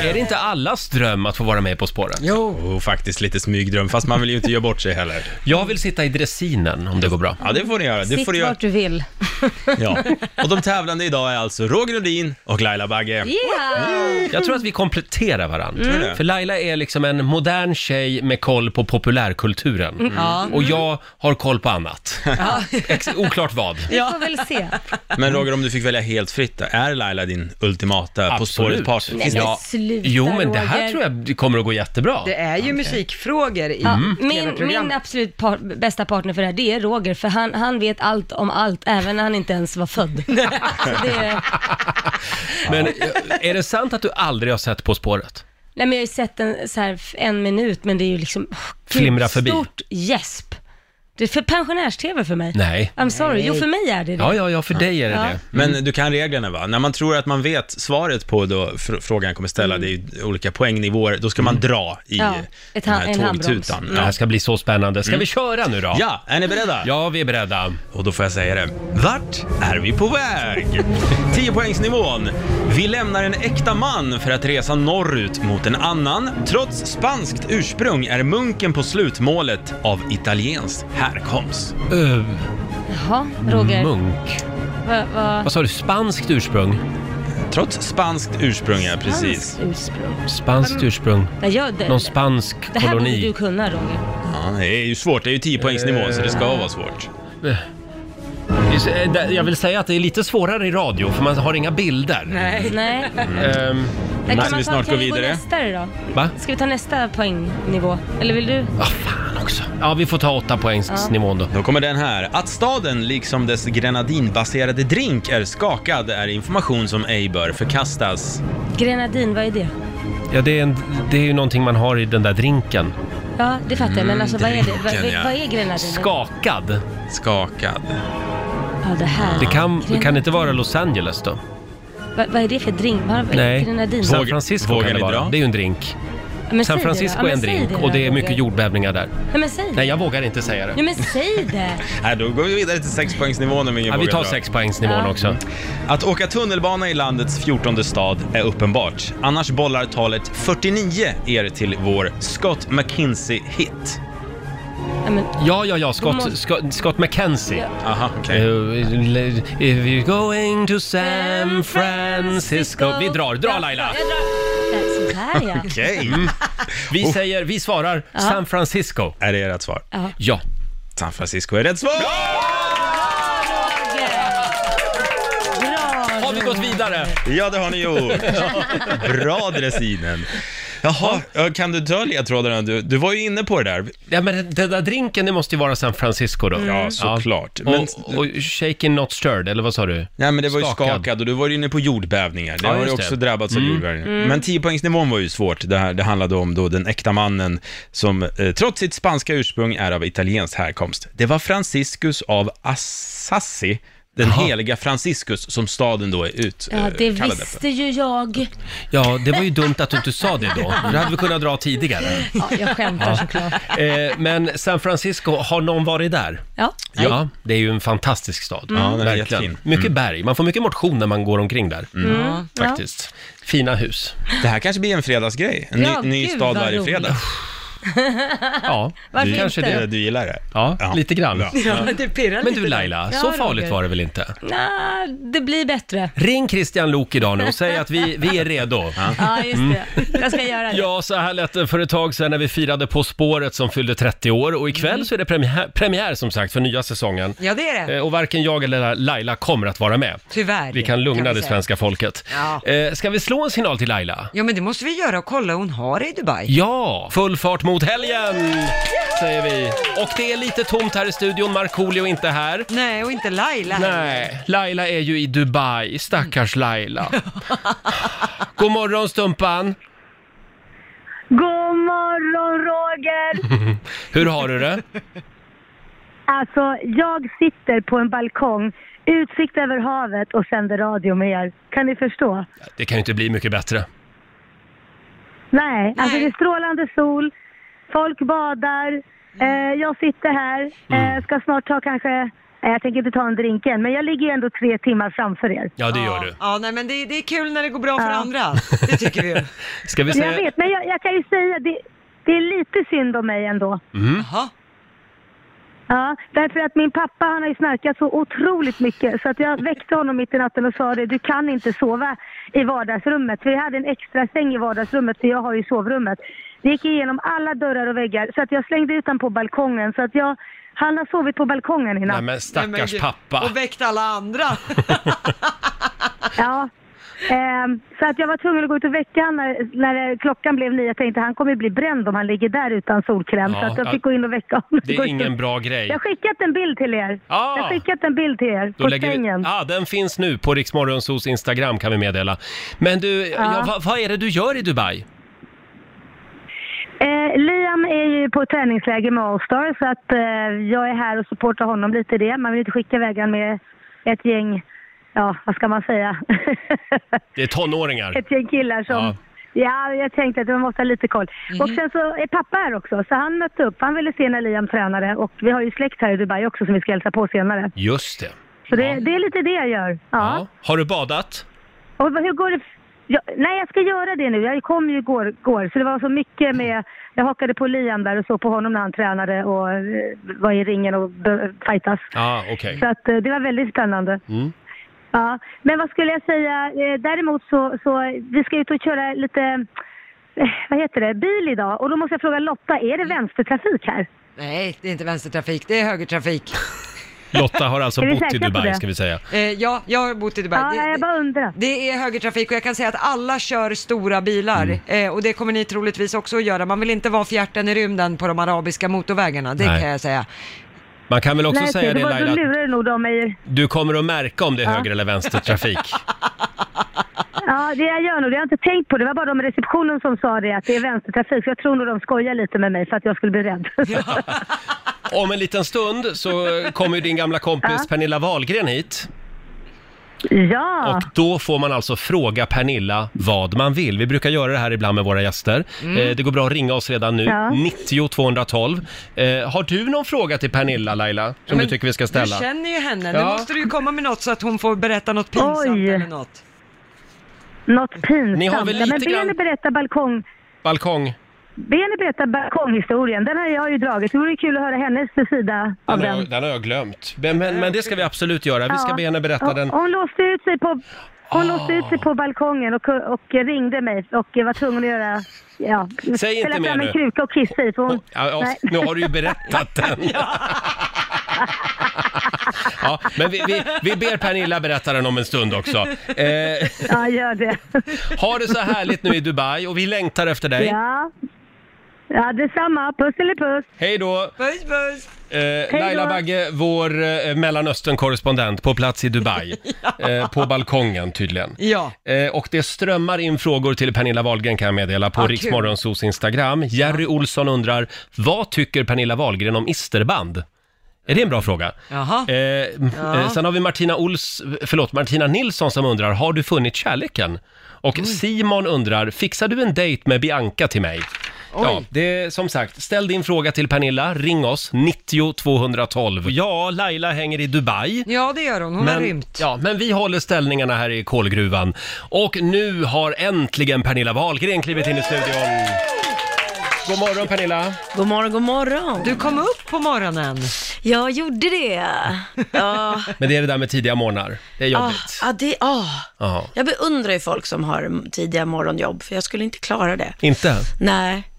Speaker 1: Är det inte allas dröm att få vara med På spåret?
Speaker 3: Jo, Oh, faktiskt lite smygdröm, fast man vill ju inte göra bort sig heller.
Speaker 1: Jag vill sitta i dressinen om det går bra.
Speaker 3: Ja, det får ni göra. Det
Speaker 10: Sitt
Speaker 3: får ni göra.
Speaker 10: vart du vill.
Speaker 3: Ja. Och de tävlande idag är alltså Roger Nordin och Laila Bagge.
Speaker 10: Yeah!
Speaker 1: Jag tror att vi kompletterar varandra.
Speaker 3: Mm. Tror du det?
Speaker 1: För Laila är liksom en modern tjej med koll på populärkulturen.
Speaker 10: Mm.
Speaker 1: Mm. Och jag har koll på annat. Ex- oklart vad.
Speaker 10: Vi får väl se.
Speaker 3: Men Roger, om du fick välja helt fritt, då, är Laila din ultimata På
Speaker 1: Absolut.
Speaker 3: spåret-partner?
Speaker 10: Nej,
Speaker 3: Finns det-
Speaker 10: men sluta
Speaker 1: Jo, men det
Speaker 10: Roger.
Speaker 1: här tror jag kommer att gå jättebra.
Speaker 2: Det är ju musikfrågor i
Speaker 10: Min,
Speaker 2: tv-program.
Speaker 10: min absolut par, bästa partner för det här, det är Roger, för han, han vet allt om allt, även när han inte ens var född. Så det,
Speaker 1: Men eh, är det sant att du aldrig har sett På spåret?
Speaker 10: nej men jag har ju sett en, så här, en minut, men det är ju liksom... åh, gud,
Speaker 1: Flimra förbi.
Speaker 10: Stort gäsp. Det är för pensionärs-tv för mig.
Speaker 1: Nej.
Speaker 10: I'm sorry, jo för mig är det det.
Speaker 1: Ja, ja, ja, för dig är det det. Mm.
Speaker 3: Men du kan reglerna va? När man tror att man vet svaret på då fr- frågan kommer ställa, det är ju olika poängnivåer, då ska man
Speaker 1: Mm.
Speaker 3: dra i
Speaker 10: Mm. Ja,
Speaker 3: den
Speaker 10: ett ha-
Speaker 3: här
Speaker 10: en handbroms.
Speaker 3: tågtutan.
Speaker 1: Det här
Speaker 3: Ja.
Speaker 1: ska bli så spännande. Ska vi köra nu då?
Speaker 3: Mm. ja, är ni beredda?
Speaker 1: Ja, vi är beredda.
Speaker 3: Och då får jag säga det. Vart är vi på väg? 10 poängsnivån. Vi lämnar en äkta man för att resa norrut mot en annan. Trots spanskt ursprung är munken på slutmålet av italiensk härkomst.
Speaker 1: Öh,
Speaker 10: Jaha, Roger.
Speaker 1: munk.
Speaker 10: Va, va,
Speaker 1: Vad sa du? Spanskt ursprung?
Speaker 3: Trots spanskt ursprung, ja precis.
Speaker 10: hans ursprung.
Speaker 1: Spanskt ursprung.
Speaker 10: Nej, jag, det,
Speaker 1: Någon spansk
Speaker 10: det här borde du
Speaker 1: koloni.
Speaker 10: kunna Roger.
Speaker 3: Ja, det är ju svårt, det är ju 10 poängsnivån så det ska vara svårt.
Speaker 1: eh, Jag vill säga att det är lite svårare i radio, för man har inga bilder.
Speaker 2: Nej.
Speaker 10: Nej.
Speaker 1: Ehm,
Speaker 10: Mm. Där kan
Speaker 3: Måste
Speaker 10: man
Speaker 3: vi
Speaker 10: ta-
Speaker 3: snart
Speaker 10: kan
Speaker 3: gå vidare?
Speaker 10: Kan vi gå nästa då?
Speaker 1: Va?
Speaker 10: Ska vi ta nästa poängnivå? Eller vill du?
Speaker 1: ah, fan också. Ja, vi får ta åtta poängsnivån då.
Speaker 3: Då kommer den här. Att staden, liksom dess grenadinbaserade drink, är skakad är information som ej bör förkastas.
Speaker 10: Grenadin, vad är det?
Speaker 1: Ja, det är, en, det är ju någonting man har i den där drinken.
Speaker 10: Ja, det fattar
Speaker 1: Mm,
Speaker 10: jag, men alltså vad är det? Vad,
Speaker 3: drinken, ja.
Speaker 10: vad, vad är grenadin?
Speaker 1: Skakad.
Speaker 3: Skakad.
Speaker 10: Ja, det här.
Speaker 1: Det kan,
Speaker 10: Grenadin.
Speaker 1: kan det inte vara Los Angeles då?
Speaker 10: Vad, vad är det för drink? Vad, vad- Grenadin?
Speaker 1: San
Speaker 3: Vågar-
Speaker 1: Francisco
Speaker 3: vågar
Speaker 1: kan det
Speaker 3: ni
Speaker 1: vara.
Speaker 3: dra?
Speaker 1: Det är ju en drink.
Speaker 10: Ja, men säg
Speaker 1: San
Speaker 10: det då. Ja,
Speaker 1: Francisco är
Speaker 10: men
Speaker 1: en
Speaker 10: säg
Speaker 1: drink
Speaker 10: då,
Speaker 1: och det är
Speaker 10: Roger.
Speaker 1: mycket jordbävningar där.
Speaker 10: Ja, men säg det.
Speaker 1: Nej, jag vågar inte säga det.
Speaker 10: Ja, men säg det.
Speaker 3: Här, då går vi vidare till sexpoängsnivån om ingen
Speaker 1: Ja, vi
Speaker 3: vågar
Speaker 1: tar
Speaker 3: dra.
Speaker 1: sexpoängsnivån
Speaker 10: Ja.
Speaker 1: också.
Speaker 3: Att åka tunnelbana i landets 14 stad är uppenbart. Annars bollar talet 49 er till vår Scott McKinsey-hit.
Speaker 10: Ja, men,
Speaker 1: Ja, ja, ja, Scott,
Speaker 10: Då måste-
Speaker 1: Scott, Scott McKenzie.
Speaker 10: Ja.
Speaker 3: Aha, okej.
Speaker 1: Eh, If you're going to San Francisco. Vi drar, dra
Speaker 10: Ja,
Speaker 1: Laila! Mm.
Speaker 10: jag drar. Där, Så där ja.
Speaker 3: Okej.
Speaker 1: Vi säger, vi svarar San Francisco.
Speaker 3: Är det rätt svar?
Speaker 1: Ja.
Speaker 3: San Francisco är rätt svar!
Speaker 10: Bra,
Speaker 1: Har vi gått vidare.
Speaker 3: Ja, det har ni gjort. Bra dressinen. Jaha, ja, kan du dra ledtrådarna? Du, du var ju inne på det där.
Speaker 1: Ja, men den där drinken, det måste ju vara San Francisco
Speaker 10: Mm.
Speaker 1: då.
Speaker 3: Ja, såklart.
Speaker 1: Men...
Speaker 3: Men-
Speaker 1: Och, och shaken not stirred, eller vad sa du?
Speaker 3: Nej, men det var ju skakad, och du var ju inne på jordbävningar. Det
Speaker 1: Ja,
Speaker 3: har ju
Speaker 1: just det.
Speaker 3: också drabbats av
Speaker 1: Mm.
Speaker 3: jordbävningar.
Speaker 1: Mm.
Speaker 3: Men 10-poängsnivån var ju svårt. Det, här, det handlade om då den äkta mannen som eh, trots sitt spanska ursprung är av italiensk härkomst. Det var Franciscus av Assasi, den heliga Franciscus som staden då är ut,
Speaker 10: Ja, det
Speaker 3: eh, kallad
Speaker 10: visste ju jag.
Speaker 1: Ja, det var ju dumt att du inte sa det då. Det hade vi kunnat dra tidigare.
Speaker 10: Ja, jag skämtar
Speaker 1: Ja.
Speaker 10: såklart.
Speaker 1: Eh, men San Francisco, har någon varit där?
Speaker 10: Ja.
Speaker 1: Ja, det är ju en fantastisk stad.
Speaker 3: Mm. Ja, den är
Speaker 1: Verkligen.
Speaker 3: jättefin.
Speaker 1: Mycket berg, man får mycket motion när man går omkring där.
Speaker 10: Mm. Ja.
Speaker 1: Faktiskt. Fina hus.
Speaker 3: Det här kanske blir en fredagsgrej. En ny,
Speaker 10: Ja,
Speaker 3: ny
Speaker 10: gud,
Speaker 3: stad
Speaker 10: vad
Speaker 3: varje
Speaker 10: roligt.
Speaker 3: fredag.
Speaker 1: Ja,
Speaker 10: Varför
Speaker 1: det kanske
Speaker 10: inte?
Speaker 1: det.
Speaker 3: Du gillar det?
Speaker 1: Ja, lite grann.
Speaker 10: Ja, det pirrar
Speaker 1: Men
Speaker 10: lite
Speaker 1: du
Speaker 10: där.
Speaker 1: Laila,
Speaker 10: Ja,
Speaker 1: så
Speaker 10: Roger.
Speaker 1: farligt var det väl inte?
Speaker 10: Nej, det blir bättre.
Speaker 1: Ring Christian Lok idag nu och säg att vi, vi är redo.
Speaker 10: Ja, just
Speaker 1: Mm.
Speaker 10: det. Jag ska göra det.
Speaker 1: Ja, så här lät det för ett tag sedan när vi firade På spåret som fyllde 30 år och ikväll så är det premiär, premiär som sagt för nya säsongen.
Speaker 2: Mm. Ja, det är det.
Speaker 1: Eh, Och varken jag eller Laila kommer att vara med.
Speaker 2: Tyvärr.
Speaker 1: Vi kan
Speaker 2: vi
Speaker 1: lugna det
Speaker 2: säga.
Speaker 1: svenska folket.
Speaker 2: Ja.
Speaker 1: Eh, Ska vi slå en signal till Laila?
Speaker 2: ja, men det måste vi göra och kolla hon har det i Dubai.
Speaker 1: Ja, full fart mot helgen säger vi. Och det är lite tomt här i studion, Markoolio är inte här.
Speaker 2: Nej, och inte Laila
Speaker 1: Nej, Laila är ju i Dubai, stackars Laila. God morgon Stumpan!
Speaker 6: God morgon Roger!
Speaker 1: Hur har du det?
Speaker 6: Alltså, jag sitter på en balkong, utsikt över havet och sänder radio med er. Kan ni förstå?
Speaker 1: Det kan ju inte bli mycket bättre.
Speaker 6: Nej, alltså det är strålande sol, folk badar, eh, jag sitter här,
Speaker 1: Mm.
Speaker 6: eh, ska snart ta kanske, eh, jag tänker inte ta en drink än, men jag ligger ju ändå tre timmar framför er.
Speaker 1: Ja, det gör du.
Speaker 2: Ja, nej men det, det är kul när det går bra för
Speaker 6: Ja.
Speaker 2: andra. Det tycker vi ju.
Speaker 1: Ska vi
Speaker 6: Jag
Speaker 1: säga...
Speaker 6: vet, men jag, jag kan ju säga, det, det är lite synd om mig ändå.
Speaker 1: Mm.
Speaker 6: Ja, därför att min pappa han har ju snarkat så otroligt mycket så att jag väckte honom mitt i natten och sa det, du kan inte sova i vardagsrummet. För jag hade en extra säng i vardagsrummet för jag har ju sovrummet. Det gick igenom alla dörrar och väggar så att jag slängde ut honom på balkongen så att jag, han har sovit på balkongen i
Speaker 1: Nej
Speaker 6: natt.
Speaker 1: men
Speaker 2: Nej, men
Speaker 1: stackars
Speaker 2: gud.
Speaker 1: pappa.
Speaker 2: Och väckt alla andra.
Speaker 6: Ja. Ehm, så att jag var tvungen att gå ut och väcka honom när, när klockan blev nio. Jag tänkte han kommer bli bränd om han ligger där utan solkräm.
Speaker 1: Ja,
Speaker 6: så att jag
Speaker 1: ja.
Speaker 6: fick gå in och väcka honom.
Speaker 1: Det är ingen bra grej.
Speaker 6: Jag har skickat en bild till er.
Speaker 1: Ah.
Speaker 6: Jag har skickat en bild till er
Speaker 1: Då
Speaker 6: på
Speaker 1: lägger
Speaker 6: sängen.
Speaker 1: vi... ah, den finns nu på Riksmorgonsos Instagram kan vi meddela. Men du, ja. vad, vad är det du gör i Dubai?
Speaker 6: Eh, Liam är ju på träningsläger med Allstar så att eh, jag är här och supportar honom lite i det. Man vill inte skicka iväg honom med ett gäng, ja vad ska man säga,
Speaker 1: Det är tonåringar.
Speaker 6: ett gäng killar som
Speaker 1: Ja. Mhm.
Speaker 6: ja. jag tänkte att man måste ha lite koll. Och sen så är pappa här också, så han mötte upp. Han ville se när Liam tränade och vi har ju släkt här i Dubai också som vi ska hälsa på senare.
Speaker 1: Just det.
Speaker 6: Så det, det är lite det jag gör. Ja.
Speaker 1: Ja. Har du badat?
Speaker 6: Och vad- hur går det? Ja, nej, jag ska göra det nu. Jag kom ju igår, igår, så det var så mycket med... Jag hakade på Liam där och såg på honom när han tränade och eh, var i ringen och be- fightas.
Speaker 1: Ja, ah, okej.
Speaker 6: Så att, eh, det var väldigt spännande.
Speaker 1: Mm.
Speaker 6: Ja, men vad skulle jag säga? Eh, Däremot så, så vi ska ut och köra lite, eh, vad heter det, bil idag. Och då måste jag fråga Lotta, är det vänstertrafik här?
Speaker 2: Nej, det är inte vänstertrafik, det är högertrafik.
Speaker 1: Lotta har alltså
Speaker 6: Är vi
Speaker 1: bott i
Speaker 6: säkra på
Speaker 1: Dubai
Speaker 6: det?
Speaker 1: ska vi säga.
Speaker 2: Eh, ja, jag har bott i Dubai.
Speaker 6: Ja,
Speaker 2: det,
Speaker 6: jag bara undrar.
Speaker 2: det är högertrafik och jag kan säga att alla kör stora bilar
Speaker 1: Mm.
Speaker 2: eh, och det kommer ni troligtvis också att göra. Man vill inte vara fjärten i rymden på de arabiska motorvägarna, det
Speaker 1: Nej.
Speaker 2: kan jag säga.
Speaker 1: Man kan väl också
Speaker 6: Nej,
Speaker 1: säga
Speaker 6: det
Speaker 1: det
Speaker 6: var, då
Speaker 1: Laila, att
Speaker 6: lurar du nog dem i...
Speaker 1: du kommer att märka om det är höger eller vänstertrafik.
Speaker 6: Ja, det jag gör nog, det har jag inte tänkt på. Det var bara de i receptionen som sa det, att det är vänstertrafik. Så jag tror nog de skojar lite med mig för att jag skulle bli rädd.
Speaker 1: Om en liten stund så kommer ju din gamla kompis Pernilla Wahlgren hit.
Speaker 6: ja,
Speaker 1: Och då får man alltså fråga Pernilla vad man vill. Vi brukar göra det här ibland med våra gäster. Eh, det går bra att ringa oss redan nu,
Speaker 6: Mm. Ja.
Speaker 1: 90 212. Eh, har du någon fråga till Pernilla, Laila, som
Speaker 2: Men
Speaker 1: du tycker vi ska
Speaker 2: Du
Speaker 1: ställa?
Speaker 2: känner ju henne, nu
Speaker 1: Ja.
Speaker 2: måste du ju komma med något så att hon får berätta något pinsamt
Speaker 6: Oj.
Speaker 2: eller något.
Speaker 6: något pinsamt.
Speaker 1: Ni har väl
Speaker 6: Ja, men
Speaker 1: lite
Speaker 6: be
Speaker 1: grann-
Speaker 6: henne berätta balkong...
Speaker 1: Balkong.
Speaker 6: Be henne berätta balkonghistorien. Den har jag ju dragit. Det vore kul att höra hennes sida av
Speaker 1: Den har,
Speaker 6: den.
Speaker 1: jag- den har jag glömt. Men, men, men det ska vi absolut göra. Vi ska
Speaker 6: Ja.
Speaker 1: be henne berätta
Speaker 6: Hon-
Speaker 1: den. Ah.
Speaker 6: Hon låste ut sig på... Hon låste ut sig på balkongen och, och ringde mig och var tvungen att göra... Ja,
Speaker 1: Säg inte
Speaker 6: ställa
Speaker 1: mer
Speaker 6: fram
Speaker 1: nu.
Speaker 6: en kruka och kissa i. för Hon,
Speaker 1: Ja, ja,
Speaker 6: nej.
Speaker 1: nu har du ju berättat den. Ja. Men vi, vi, vi ber Pernilla berätta den om en stund också. Eh,
Speaker 6: Ja, gör det.
Speaker 1: ha det så härligt nu i Dubai och vi längtar efter dig.
Speaker 6: Ja. Ja, detsamma. Puss eller puss.
Speaker 1: Hej då!
Speaker 2: Puss, puss.
Speaker 1: Eh, Laila
Speaker 6: då.
Speaker 1: Bagge, vår eh, Mellanöstern-korrespondent på plats i Dubai. eh, på balkongen tydligen.
Speaker 2: Ja.
Speaker 1: Eh, och det strömmar in frågor till Pernilla Wahlgren kan jag meddela på
Speaker 2: Ja,
Speaker 1: ja,
Speaker 2: kul.
Speaker 1: Riksmorgonsos Instagram. Jerry Olsson undrar, vad tycker Pernilla Wahlgren om isterband? Är det en bra fråga?
Speaker 2: Jaha.
Speaker 1: Eh, m-
Speaker 2: Ja.
Speaker 1: eh, sen har vi Martina, Ols, förlåt, Martina Nilsson som undrar, har du funnit kärleken? Och
Speaker 2: Mm.
Speaker 1: Simon undrar, fixar du en dejt med Bianca till mig? Ja, det är som sagt, ställ din fråga till Pernilla, ring oss, 90 212. Ja, Laila hänger i Dubai.
Speaker 2: Ja, det gör hon. Hon har rymt.
Speaker 1: Ja, men vi håller ställningarna här i kolgruvan. Och nu har äntligen Pernilla Wahlgren klivit in i studion. God morgon Pernilla!
Speaker 11: God morgon, god morgon.
Speaker 2: Du kom upp på morgonen.
Speaker 11: Jag gjorde det. Ja,
Speaker 1: Men det är det där med tidiga morgnar. Det är
Speaker 11: ah,
Speaker 1: jobbigt.
Speaker 11: ah, det, ah.
Speaker 1: Ja.
Speaker 11: Jag beundrar ju folk som har tidiga morgonjobb, för jag skulle inte klara det.
Speaker 1: Inte?
Speaker 11: Nej.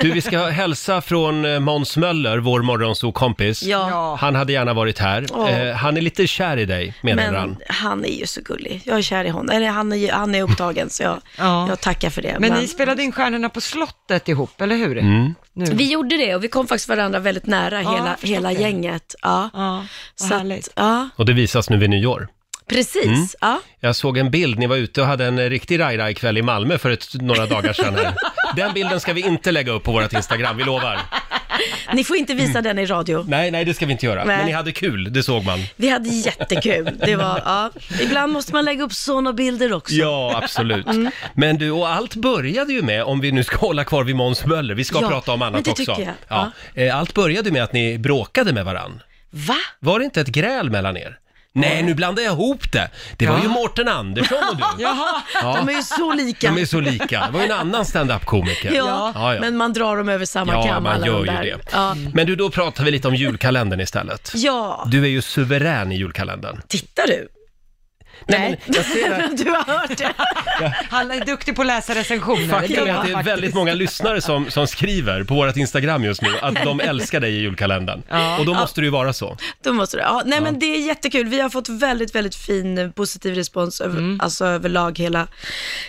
Speaker 1: Du, vi ska hälsa från eh, Måns Möller, vår morgonsokompis.
Speaker 11: Ja. Ja.
Speaker 1: Han hade gärna varit här.
Speaker 11: Åh.
Speaker 1: Eh, han är lite kär i dig, menar han.
Speaker 11: han är ju så gullig. Jag är kär i honom. Eller han är, ju- han är upptagen, så jag, jag tackar för det.
Speaker 2: Men ni spelade in Stjärnorna på slottet ihop, eller hur?
Speaker 1: Mm.
Speaker 2: Nu.
Speaker 11: Vi gjorde det och vi kom faktiskt varandra väldigt nära,
Speaker 2: Ja, jag
Speaker 11: hela,
Speaker 2: förstår
Speaker 11: hela
Speaker 2: det.
Speaker 11: gänget. Ja,
Speaker 2: vad
Speaker 11: så
Speaker 2: härligt.
Speaker 11: Att, ja,
Speaker 1: Och det visas nu vid nyår.
Speaker 11: precis.
Speaker 1: Mm.
Speaker 11: Ja.
Speaker 1: Jag såg en bild, ni var ute och hade en eh, riktig raj-raj-kväll i Malmö för ett, några dagar sedan. Här. Den bilden ska vi inte lägga upp på vårt Instagram, vi lovar.
Speaker 11: Ni får inte visa den i radio.
Speaker 1: Nej, nej, det ska vi inte göra.
Speaker 11: Nej.
Speaker 1: Men ni hade kul, det såg man.
Speaker 11: Vi hade jättekul. Det var, ja. Ibland måste man lägga upp sådana bilder också.
Speaker 1: Ja, absolut.
Speaker 11: Mm.
Speaker 1: Men du, och allt började ju med, om vi nu ska hålla kvar vid Måns Möller, vi ska
Speaker 11: Ja,
Speaker 1: prata om
Speaker 11: men
Speaker 1: annat
Speaker 11: det
Speaker 1: också.
Speaker 11: tycker jag.
Speaker 1: Ja. Eh, Allt började med att ni bråkade med varann.
Speaker 11: Va?
Speaker 1: Var det inte ett gräl mellan er? Nej, nu blandar jag ihop det. Det var
Speaker 11: Ja.
Speaker 1: ju Mårten Andersson och du.
Speaker 11: Jaha,
Speaker 1: Ja.
Speaker 11: de är ju så lika.
Speaker 1: De är så lika. Det var ju en annan
Speaker 11: Ja,
Speaker 1: standup-komiker.
Speaker 11: men man drar dem över samma
Speaker 1: Ja,
Speaker 11: kam.
Speaker 1: man
Speaker 11: alla
Speaker 1: gör
Speaker 11: de
Speaker 1: ju
Speaker 11: där.
Speaker 1: det.
Speaker 11: Ja.
Speaker 1: Men du, då pratar vi lite om julkalendern istället.
Speaker 11: ja,
Speaker 1: Du är ju suverän i julkalendern.
Speaker 11: tittar du?
Speaker 1: Nej, men jag ser att-
Speaker 11: du har hört det.
Speaker 2: Han är duktig på att läsa recensioner.
Speaker 1: Faktum är
Speaker 2: kan
Speaker 1: att det
Speaker 2: man
Speaker 1: är väldigt
Speaker 2: faktiskt.
Speaker 1: många lyssnare som, som skriver på vårt Instagram just nu att de älskar dig i julkalendern. Och då måste det ju vara så.
Speaker 11: Då måste du. Ja, nej, men det är jättekul. Vi har fått väldigt, väldigt fin eh, positiv respons över,
Speaker 1: Mm.
Speaker 11: alltså, överlag hela,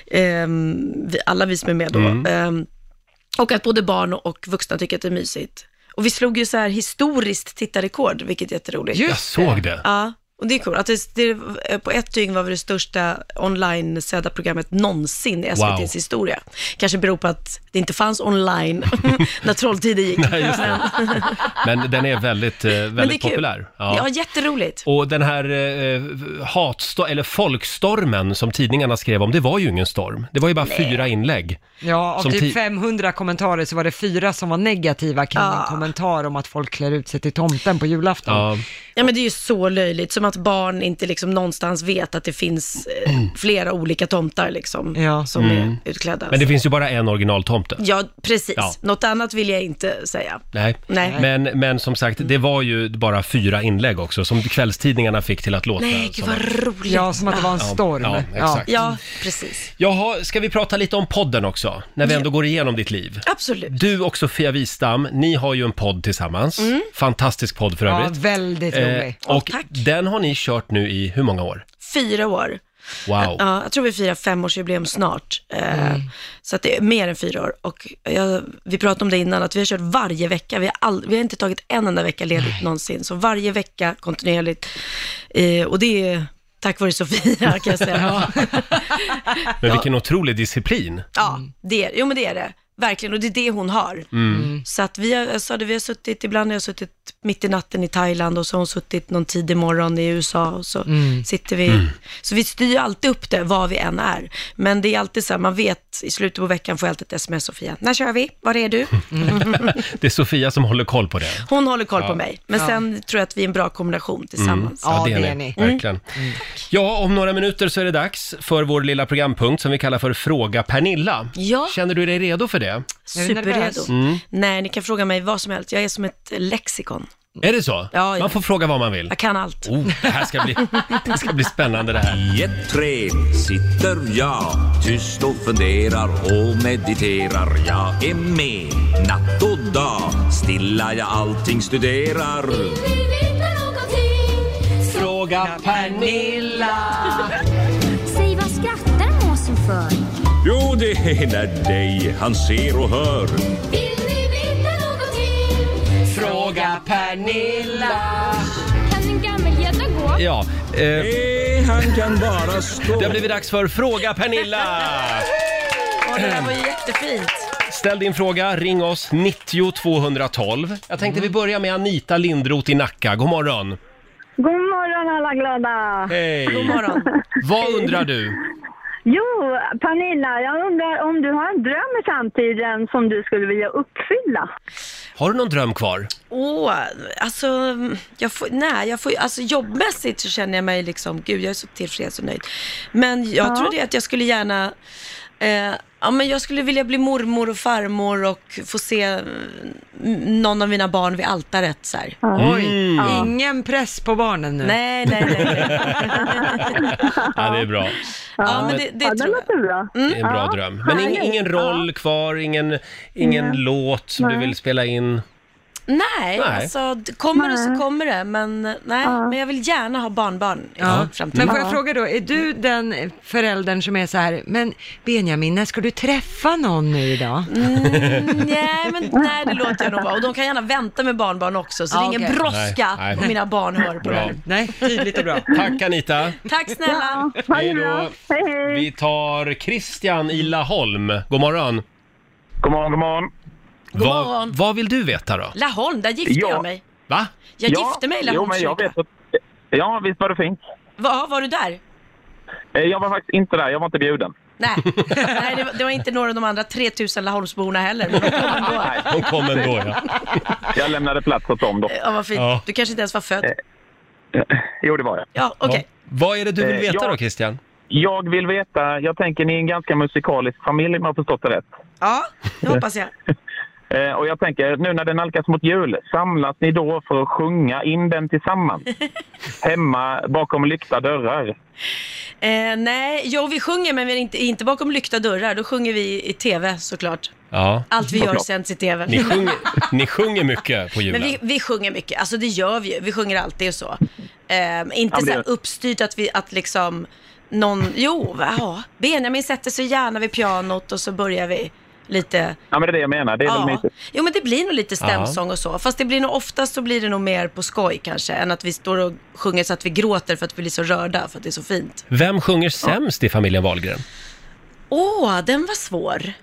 Speaker 11: ehm, vi, alla vi som är med då.
Speaker 12: Mm.
Speaker 11: Ehm, och att både barn och, och vuxna tycker att det är mysigt. Och vi slog ju så här historiskt tittarrekord, vilket är jätteroligt.
Speaker 1: Just Jag såg det. det.
Speaker 11: Ja, och det är coolt. Att det, det, på ett dygn var vi det största online-sedda programmet någonsin i SVTs
Speaker 1: Wow.
Speaker 11: historia. Kanske beror på att det inte fanns online när Trolltider gick.
Speaker 1: Nej, just det.
Speaker 11: Men-
Speaker 1: Men den är väldigt, eh,
Speaker 11: men det är
Speaker 1: väldigt
Speaker 11: kul.
Speaker 1: populär.
Speaker 11: Ja. jätteroligt.
Speaker 1: Och den här eh, hatstor- eller folkstormen som tidningarna skrev om, det var ju ingen storm. Det var ju bara
Speaker 2: Nej.
Speaker 1: fyra inlägg.
Speaker 11: Alltså.
Speaker 2: Ja, av
Speaker 1: Som ti-
Speaker 2: typ 500 kommentarer så var det fyra som var negativa kring
Speaker 11: Ja.
Speaker 2: en kommentar om att folk klär ut sig till tomten på julafton.
Speaker 11: Ja men det är ju så löjligt, som att barn inte liksom någonstans vet att det finns eh, flera olika tomtar liksom, som
Speaker 1: Mm.
Speaker 11: är utklädda.
Speaker 1: Men det finns ju bara en originaltomte.
Speaker 11: Ja, precis.
Speaker 1: Ja.
Speaker 11: Något annat vill jag inte säga.
Speaker 1: Nej,
Speaker 11: Nej.
Speaker 1: Men, men som sagt, det var ju bara fyra inlägg också som kvällstidningarna fick till att låta.
Speaker 11: Nej, gud
Speaker 1: som
Speaker 11: vad
Speaker 1: att-
Speaker 11: roligt.
Speaker 2: Ja, som att det var en
Speaker 1: Ja,
Speaker 2: storm.
Speaker 1: ja, exakt.
Speaker 11: Ja, precis.
Speaker 1: Jaha, ska vi prata lite om podden också? När vi ändå går igenom ditt liv.
Speaker 11: Absolut.
Speaker 1: Du och Sofia Wistam, ni har ju en podd tillsammans.
Speaker 11: Mm.
Speaker 1: Fantastisk podd för
Speaker 2: Ja,
Speaker 1: övrigt.
Speaker 2: väldigt rolig.
Speaker 1: Eh, och den har ni kört nu i hur många år?
Speaker 11: Fyra år.
Speaker 1: Wow.
Speaker 11: Ja, jag tror vi firar femårsjubileum snart. Eh, Så att det är mer än fyra år. Och jag, vi pratade om det innan, att vi har kört varje vecka. Vi har, all, vi har inte tagit en enda vecka ledigt någonsin. Så varje vecka kontinuerligt. Eh, och det är tack vare Sofia, kan jag säga.
Speaker 1: Men vilken otrolig disciplin.
Speaker 11: ja, det är, jo, men det är det. Verkligen, och det är det hon har.
Speaker 1: Mm.
Speaker 11: Så att vi har, jag sa det, vi har suttit, ibland har jag suttit mitt i natten i Thailand och så har hon suttit någon tidig morgon i USA och så
Speaker 2: Mm.
Speaker 11: sitter vi. Så vi styr ju alltid upp det, var vi än är. Men det är alltid så här, man vet, i slutet på veckan får jag alltid ett sms, Sofia, när kör vi? Var är du?
Speaker 1: Det är Sofia som håller koll på det.
Speaker 11: Mm. Hon håller koll
Speaker 1: Mm. Ja.
Speaker 11: på mig. Men
Speaker 1: Ja.
Speaker 11: sen tror jag att vi är en bra kombination tillsammans.
Speaker 1: Mm. Ja, det är ni. Verkligen.
Speaker 11: Mm.
Speaker 1: Ja, om några minuter så är det dags för vår lilla programpunkt som vi kallar för Fråga Pernilla.
Speaker 11: Ja.
Speaker 1: Känner du dig redo för det?
Speaker 11: Superredo.
Speaker 1: Mm.
Speaker 11: Nej, ni kan fråga mig vad som helst. Jag är som ett lexikon.
Speaker 1: Är det så?
Speaker 11: Ja, ja.
Speaker 1: Man får fråga vad man vill.
Speaker 11: Jag kan allt.
Speaker 1: Oh, det här ska bli, det ska bli spännande det här.
Speaker 13: I ett träd sitter jag tyst och funderar och mediterar. Jag är med natt och dag, stilla jag allting studerar.
Speaker 14: Vi veta någonting
Speaker 12: Fråga Pernilla.
Speaker 14: Säg, vad skrattar måsen för?
Speaker 13: Jo, det är när dig han ser och hör.
Speaker 14: Vill ni veta någonting?
Speaker 12: Fråga Pernilla.
Speaker 14: Kan en gammelgädda gå?
Speaker 1: Ja. Eh, han kan bara stå. Det har blivit dags för Fråga Pernilla!
Speaker 11: Åh, det där var ju jättefint.
Speaker 1: Ställ din fråga, ring oss 90 212. Jag tänkte
Speaker 11: Mm.
Speaker 1: vi börjar med Anita Lindroth i Nacka. God morgon!
Speaker 15: God morgon alla glada!
Speaker 1: Hej! Vad undrar du?
Speaker 15: Jo, Pernilla, jag undrar om du har en dröm i framtiden som du skulle vilja uppfylla?
Speaker 1: Har du någon dröm kvar?
Speaker 11: Åh, alltså, jag får, nej, jag får, alltså jobbmässigt så känner jag mig liksom, gud jag är så tillfreds och nöjd. Men jag
Speaker 15: Ja.
Speaker 11: tror det att jag skulle gärna, eh, ja men jag skulle vilja bli mormor och farmor och få se eh, någon av mina barn vid altaret så här.
Speaker 2: Oj,
Speaker 1: Mm.
Speaker 2: ingen press på barnen nu.
Speaker 11: Ah. Nej, nej,
Speaker 1: Ja, det är bra.
Speaker 11: Ja, men
Speaker 1: men
Speaker 11: det, det tror jag.
Speaker 15: Bra.
Speaker 11: Mm.
Speaker 1: Det är en bra dröm. Men ing, ingen roll kvar, ingen, ingen
Speaker 11: Nej.
Speaker 1: låt som du
Speaker 11: Nej.
Speaker 1: vill spela in?
Speaker 11: Nej,
Speaker 1: Nej.
Speaker 11: alltså d- kommer det så kommer det, men nej, men jag vill gärna ha barnbarn.
Speaker 2: Ja.
Speaker 11: framtiden.
Speaker 2: Men får jag
Speaker 11: Ja.
Speaker 2: fråga då, är du den föräldern som är så här, men Benjamin, när ska du träffa någon nu idag?
Speaker 11: Mm, Nej, men nej, det låter jag nog vara. Och de kan gärna vänta med barnbarn också, så det är
Speaker 2: Ja,
Speaker 11: ingen
Speaker 2: okej.
Speaker 11: brådska
Speaker 1: Nej, nej.
Speaker 11: om mina barn hör på det
Speaker 1: Bra.
Speaker 11: här.
Speaker 2: Nej, tydligt och bra.
Speaker 1: Tack Anita!
Speaker 11: Tack snälla!
Speaker 1: Hej då! Vi tar Christian i Laholm. God morgon! God morgon, god morgon! Vad,
Speaker 11: morgon.
Speaker 1: vad vill du veta då?
Speaker 11: Laholm, där gifte
Speaker 1: Ja.
Speaker 11: jag mig.
Speaker 1: Va?
Speaker 11: Jag gifte mig i Laholmskyrkan.
Speaker 16: vet att... Ja, visst var det fint.
Speaker 11: Va, var du där?
Speaker 16: Eh, Jag var faktiskt inte där, jag var inte bjuden.
Speaker 11: Nej, nej det, var, det var inte några av de andra 3000 Laholmsborna heller. Men de kom ändå.
Speaker 1: De kom ändå, ja.
Speaker 16: Jag lämnade plats åt dem då.
Speaker 11: Ja, vad fint. Du kanske inte ens var
Speaker 1: Eh,
Speaker 11: född.
Speaker 16: Jo, det var jag.
Speaker 11: Ja, okej.
Speaker 1: Vad är det du vill
Speaker 16: Eh,
Speaker 1: veta
Speaker 16: jag-
Speaker 1: då Christian?
Speaker 16: Jag vill veta, jag tänker ni är en ganska musikalisk familj om jag har förstått det rätt.
Speaker 11: Ja, det hoppas jag.
Speaker 16: Eh, Och jag tänker, nu när det nalkas mot jul, samlas ni då för att sjunga in den tillsammans? Hemma bakom lyckta dörrar?
Speaker 11: Eh, nej, jo vi sjunger men vi är inte, inte bakom lyckta dörrar. Då sjunger vi i TV såklart.
Speaker 1: Ja.
Speaker 11: Allt vi gör sänds i TV.
Speaker 1: Ni sjunger, ni sjunger mycket på
Speaker 11: men
Speaker 1: julen.
Speaker 11: vi, vi sjunger mycket, alltså det gör vi ju. Vi sjunger alltid och så. Eh,
Speaker 1: Ja,
Speaker 11: inte
Speaker 1: men
Speaker 11: så
Speaker 1: det-
Speaker 11: här uppstyrt att vi, att liksom någon, jo, va, ja. Benjamin sätter sig gärna vid pianot och så börjar vi lite.
Speaker 16: Ja, men det är det jag menar. Det är väl
Speaker 11: Ja.
Speaker 16: mysigt.
Speaker 11: Jo men det blir nog lite stämsång
Speaker 16: Ja.
Speaker 11: och så. Fast det blir nog oftast så blir det nog mer på skoj kanske. Än att vi står och sjunger så att vi gråter för att vi blir så rörda för att det är så fint.
Speaker 1: Vem sjunger sämst i familjen Wahlgren?
Speaker 11: Åh, den var svår.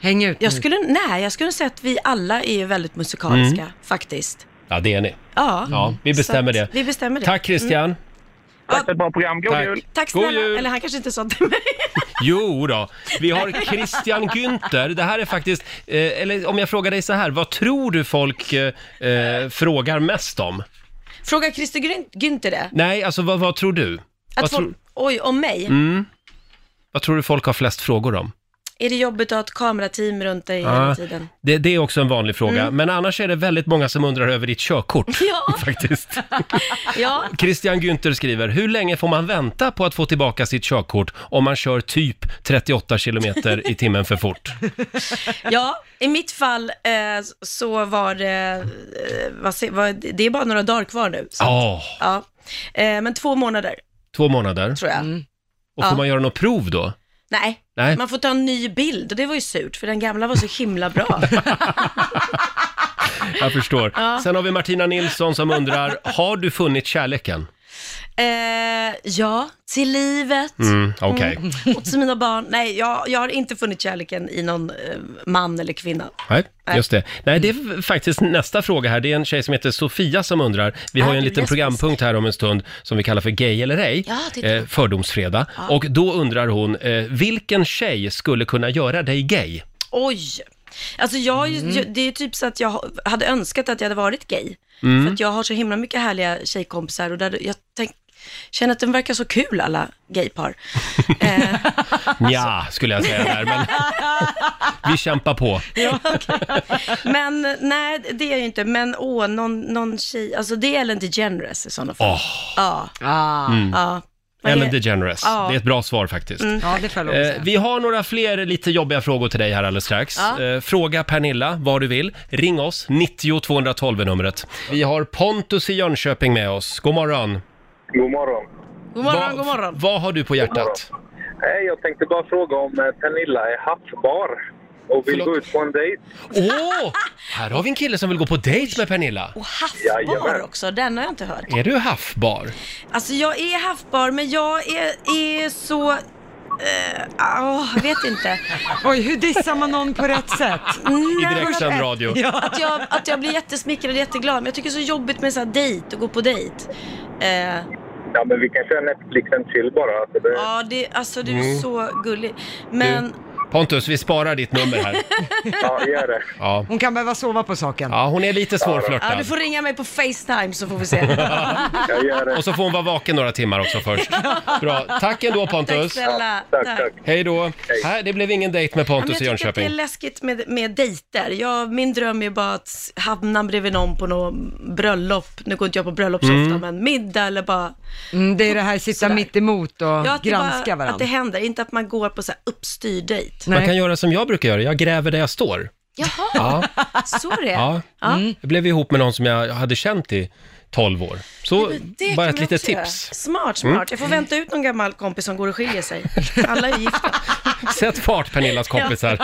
Speaker 2: Häng ut
Speaker 11: jag
Speaker 1: nu.
Speaker 11: skulle, Nej, jag skulle säga att vi alla är ju väldigt musikaliska,
Speaker 1: Mm.
Speaker 11: faktiskt.
Speaker 1: Ja, det är ni.
Speaker 11: Ja,
Speaker 1: Ja, vi bestämmer
Speaker 11: Så
Speaker 1: det.
Speaker 11: att Vi bestämmer det.
Speaker 1: Tack Christian!
Speaker 11: Mm.
Speaker 16: Tack för ett bra program, god
Speaker 1: Tack.
Speaker 16: jul!
Speaker 11: Tack
Speaker 1: God
Speaker 11: snälla.
Speaker 1: jul.
Speaker 11: Eller han kanske inte sa till mig.
Speaker 1: Jo då. vi har Christian Günther. Det här är faktiskt, eh, eller om jag frågar dig så här, vad tror du folk eh, eh, frågar mest om?
Speaker 11: Fråga Christer Grün- Günther det.
Speaker 1: Nej, alltså vad, vad tror du?
Speaker 11: Att
Speaker 1: Vad,
Speaker 11: folk,
Speaker 1: tror-
Speaker 11: Oj, om mig.
Speaker 1: mm, vad tror du folk har flest frågor om?
Speaker 11: Är det jobbigt att ha ett kamerateam runt dig
Speaker 1: Ah,
Speaker 11: hela tiden?
Speaker 1: det, det är också en vanlig fråga,
Speaker 11: Mm.
Speaker 1: men annars är det väldigt många som undrar över ditt körkort.
Speaker 11: Ja.
Speaker 1: Faktiskt.
Speaker 11: Ja,
Speaker 1: Christian Günther skriver, hur länge får man vänta på att få tillbaka sitt körkort om man kör typ 38 kilometer i timmen för fort?
Speaker 11: ja, i mitt fall eh, så var det, eh, vad, se- vad, det är bara några dagar kvar nu. Så,
Speaker 1: Ja,
Speaker 11: ja. Eh, men två månader,
Speaker 1: två månader.
Speaker 11: tror jag.
Speaker 1: Och får
Speaker 11: Mm. Ja.
Speaker 1: man göra något prov då?
Speaker 11: Nej.
Speaker 1: Nej.
Speaker 11: man får ta en ny bild och det var ju surt för den gamla var så himla bra.
Speaker 1: Jag förstår.
Speaker 11: Ja.
Speaker 1: Sen har vi Martina Nilsson som undrar, har du funnit kärleken?
Speaker 11: eh, ja, till livet.
Speaker 1: Mm, okej.
Speaker 11: Mm. Och till mina barn. Nej, jag, jag har inte funnit kärleken i någon eh, man eller kvinna.
Speaker 1: Nej,
Speaker 11: Nej.
Speaker 1: just det. Nej, det är f- faktiskt nästa fråga här. Det är en tjej som heter Sofia som undrar. Vi har ju en
Speaker 11: du
Speaker 1: liten
Speaker 11: lesbisk?
Speaker 1: programpunkt här om en stund som vi kallar för Gay eller ej, eh,
Speaker 11: Ja, titta.
Speaker 1: Fördomsfredag.
Speaker 11: Ja.
Speaker 1: Och då undrar hon, eh, vilken tjej skulle kunna göra dig gay?
Speaker 11: Oj! Alltså jag, har ju- jag, det är ju typ så att jag hade önskat att jag hade varit gay.
Speaker 1: Mm.
Speaker 11: För att jag har så himla mycket härliga tjejkompisar och där, jag tänk, känner att de verkar så kul alla gaypar.
Speaker 1: Ja, skulle jag säga där, men vi kämpar på.
Speaker 11: Men nej, det är jag ju inte. Men åh, någon, någon tjej, alltså det är Ellen DeGeneres i sådana fall.
Speaker 1: Åh.
Speaker 11: Ja.
Speaker 1: Mm.
Speaker 11: ja. Vad
Speaker 1: Ellen
Speaker 11: är-
Speaker 1: DeGeneres,
Speaker 11: Ja.
Speaker 1: det är ett bra svar faktiskt.
Speaker 11: Mm. Ja,
Speaker 2: det får
Speaker 1: Eh, vi har några fler lite jobbiga frågor till dig här alldeles strax.
Speaker 11: Ja.
Speaker 1: Eh, fråga Pernilla vad du vill. Ring oss, 90 212 är numret. Vi har Pontus i Jönköping med oss. God morgon.
Speaker 17: God morgon.
Speaker 11: God morgon,
Speaker 1: vad,
Speaker 11: god morgon.
Speaker 1: Vad har du på hjärtat?
Speaker 17: Hej, Eh, jag tänkte bara fråga om eh, Pernilla är haffbar och vill gå ut på en dejt.
Speaker 1: Åh! Här har vi en kille som vill gå på dejt med Pernilla.
Speaker 11: Och haffbar också, den har jag inte hört.
Speaker 1: Är du haffbar?
Speaker 11: Alltså jag är haffbar men jag är, är så... eh, ah, jag vet inte. Mm.
Speaker 2: Oj, hur dissar man någon på rätt sätt?
Speaker 11: Nej,
Speaker 1: direktsänd
Speaker 11: men-
Speaker 1: radio.
Speaker 2: Ja.
Speaker 11: Att, jag, att jag blir jättesmickrad och jätteglad men jag tycker det är så jobbigt med så här dejt och gå på dejt. Eh,
Speaker 17: Ja, men vi kan köra Netflix and chill bara. Alltså det...
Speaker 11: ja, det, alltså du är
Speaker 1: Mm.
Speaker 11: så gullig. Men
Speaker 1: Pontus, vi sparar ditt nummer här.
Speaker 17: Ja, gör det.
Speaker 1: Ja.
Speaker 2: Hon kan behöva sova på saken.
Speaker 1: Ja, hon är lite
Speaker 11: ja,
Speaker 1: svårflörtad.
Speaker 11: du får ringa mig på Facetime så får vi se.
Speaker 1: Och så får hon vara vaken några timmar också först. Bra. Tack ändå Pontus.
Speaker 11: Tack snälla. Tack, tack.
Speaker 1: Hej då. Här, det blev ingen dejt med
Speaker 11: Ja, men
Speaker 1: Pontus i
Speaker 11: jag tycker att det är
Speaker 1: Jönköping.
Speaker 11: läskigt med, med dejter. Jag, min dröm är bara att s- hamna bredvid någon på något bröllop. Nu går inte jag på bröllop så
Speaker 2: Mm.
Speaker 11: ofta, men middag eller bara...
Speaker 2: Mm, det är det här sitta
Speaker 11: Sådär.
Speaker 2: mitt emot och
Speaker 11: Ja, att det
Speaker 2: granska
Speaker 11: bara, Att det
Speaker 2: varandra.
Speaker 11: händer, inte att man går på så här uppstyrd dejt.
Speaker 1: Man kan göra som jag brukar göra, jag gräver där jag står.
Speaker 11: Jaha,
Speaker 1: Ja.
Speaker 11: så är det
Speaker 1: Ja. Mm. Jag blev ihop med någon som jag hade känt i 12 år. Så
Speaker 11: Det
Speaker 1: bara
Speaker 11: kan
Speaker 1: ett
Speaker 11: man
Speaker 1: litet
Speaker 11: också göra.
Speaker 1: tips.
Speaker 11: Smart, smart.
Speaker 1: Mm.
Speaker 11: Jag får vänta ut någon gammal kompis som går och skiljer sig. Alla är gifta.
Speaker 1: Sätt fart Pernillas kompisar.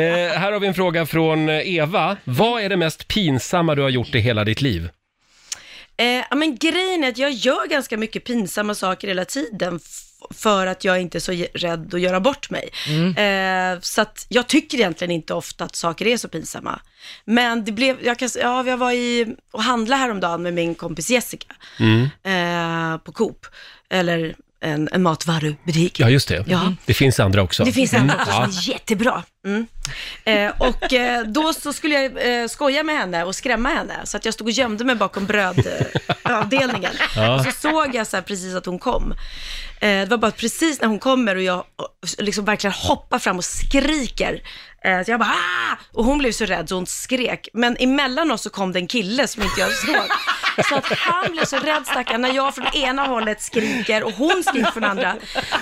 Speaker 1: eh, här har vi en fråga från eh, Eva. Vad är det mest pinsamma du har gjort i hela ditt liv?
Speaker 11: Eh, ja, men grejen är att jag gör ganska mycket pinsamma saker hela tiden f- för att jag inte är så ge- rädd att göra bort mig. Eh, så att jag tycker egentligen inte ofta att saker är så pinsamma. Men det blev, jag, kan, s- ja, jag var i, och handlade häromdagen med min kompis Jessica
Speaker 1: Mm.
Speaker 11: eh, på Coop, eller en, en matvarubutik.
Speaker 1: Ja, just det.
Speaker 11: Ja.
Speaker 1: Det finns andra också.
Speaker 11: Det finns en
Speaker 1: Mm,
Speaker 11: också som är jättebra. Mm. Eh, och eh, då så skulle jag eh, skoja med henne och skrämma henne, så att jag stod och gömde mig bakom brödavdelningen.
Speaker 12: Ja.
Speaker 11: Och så såg jag så här precis att hon kom. Eh, det var bara precis när hon kommer och jag eh, liksom verkligen hoppar fram och skriker. Eh, så jag bara ah! Och hon blev så rädd så hon skrek. Men emellan oss så kom det en kille som inte jag såg. Så att han blev så rädd stackaren när jag från ena hållet skriker och hon skriker från andra.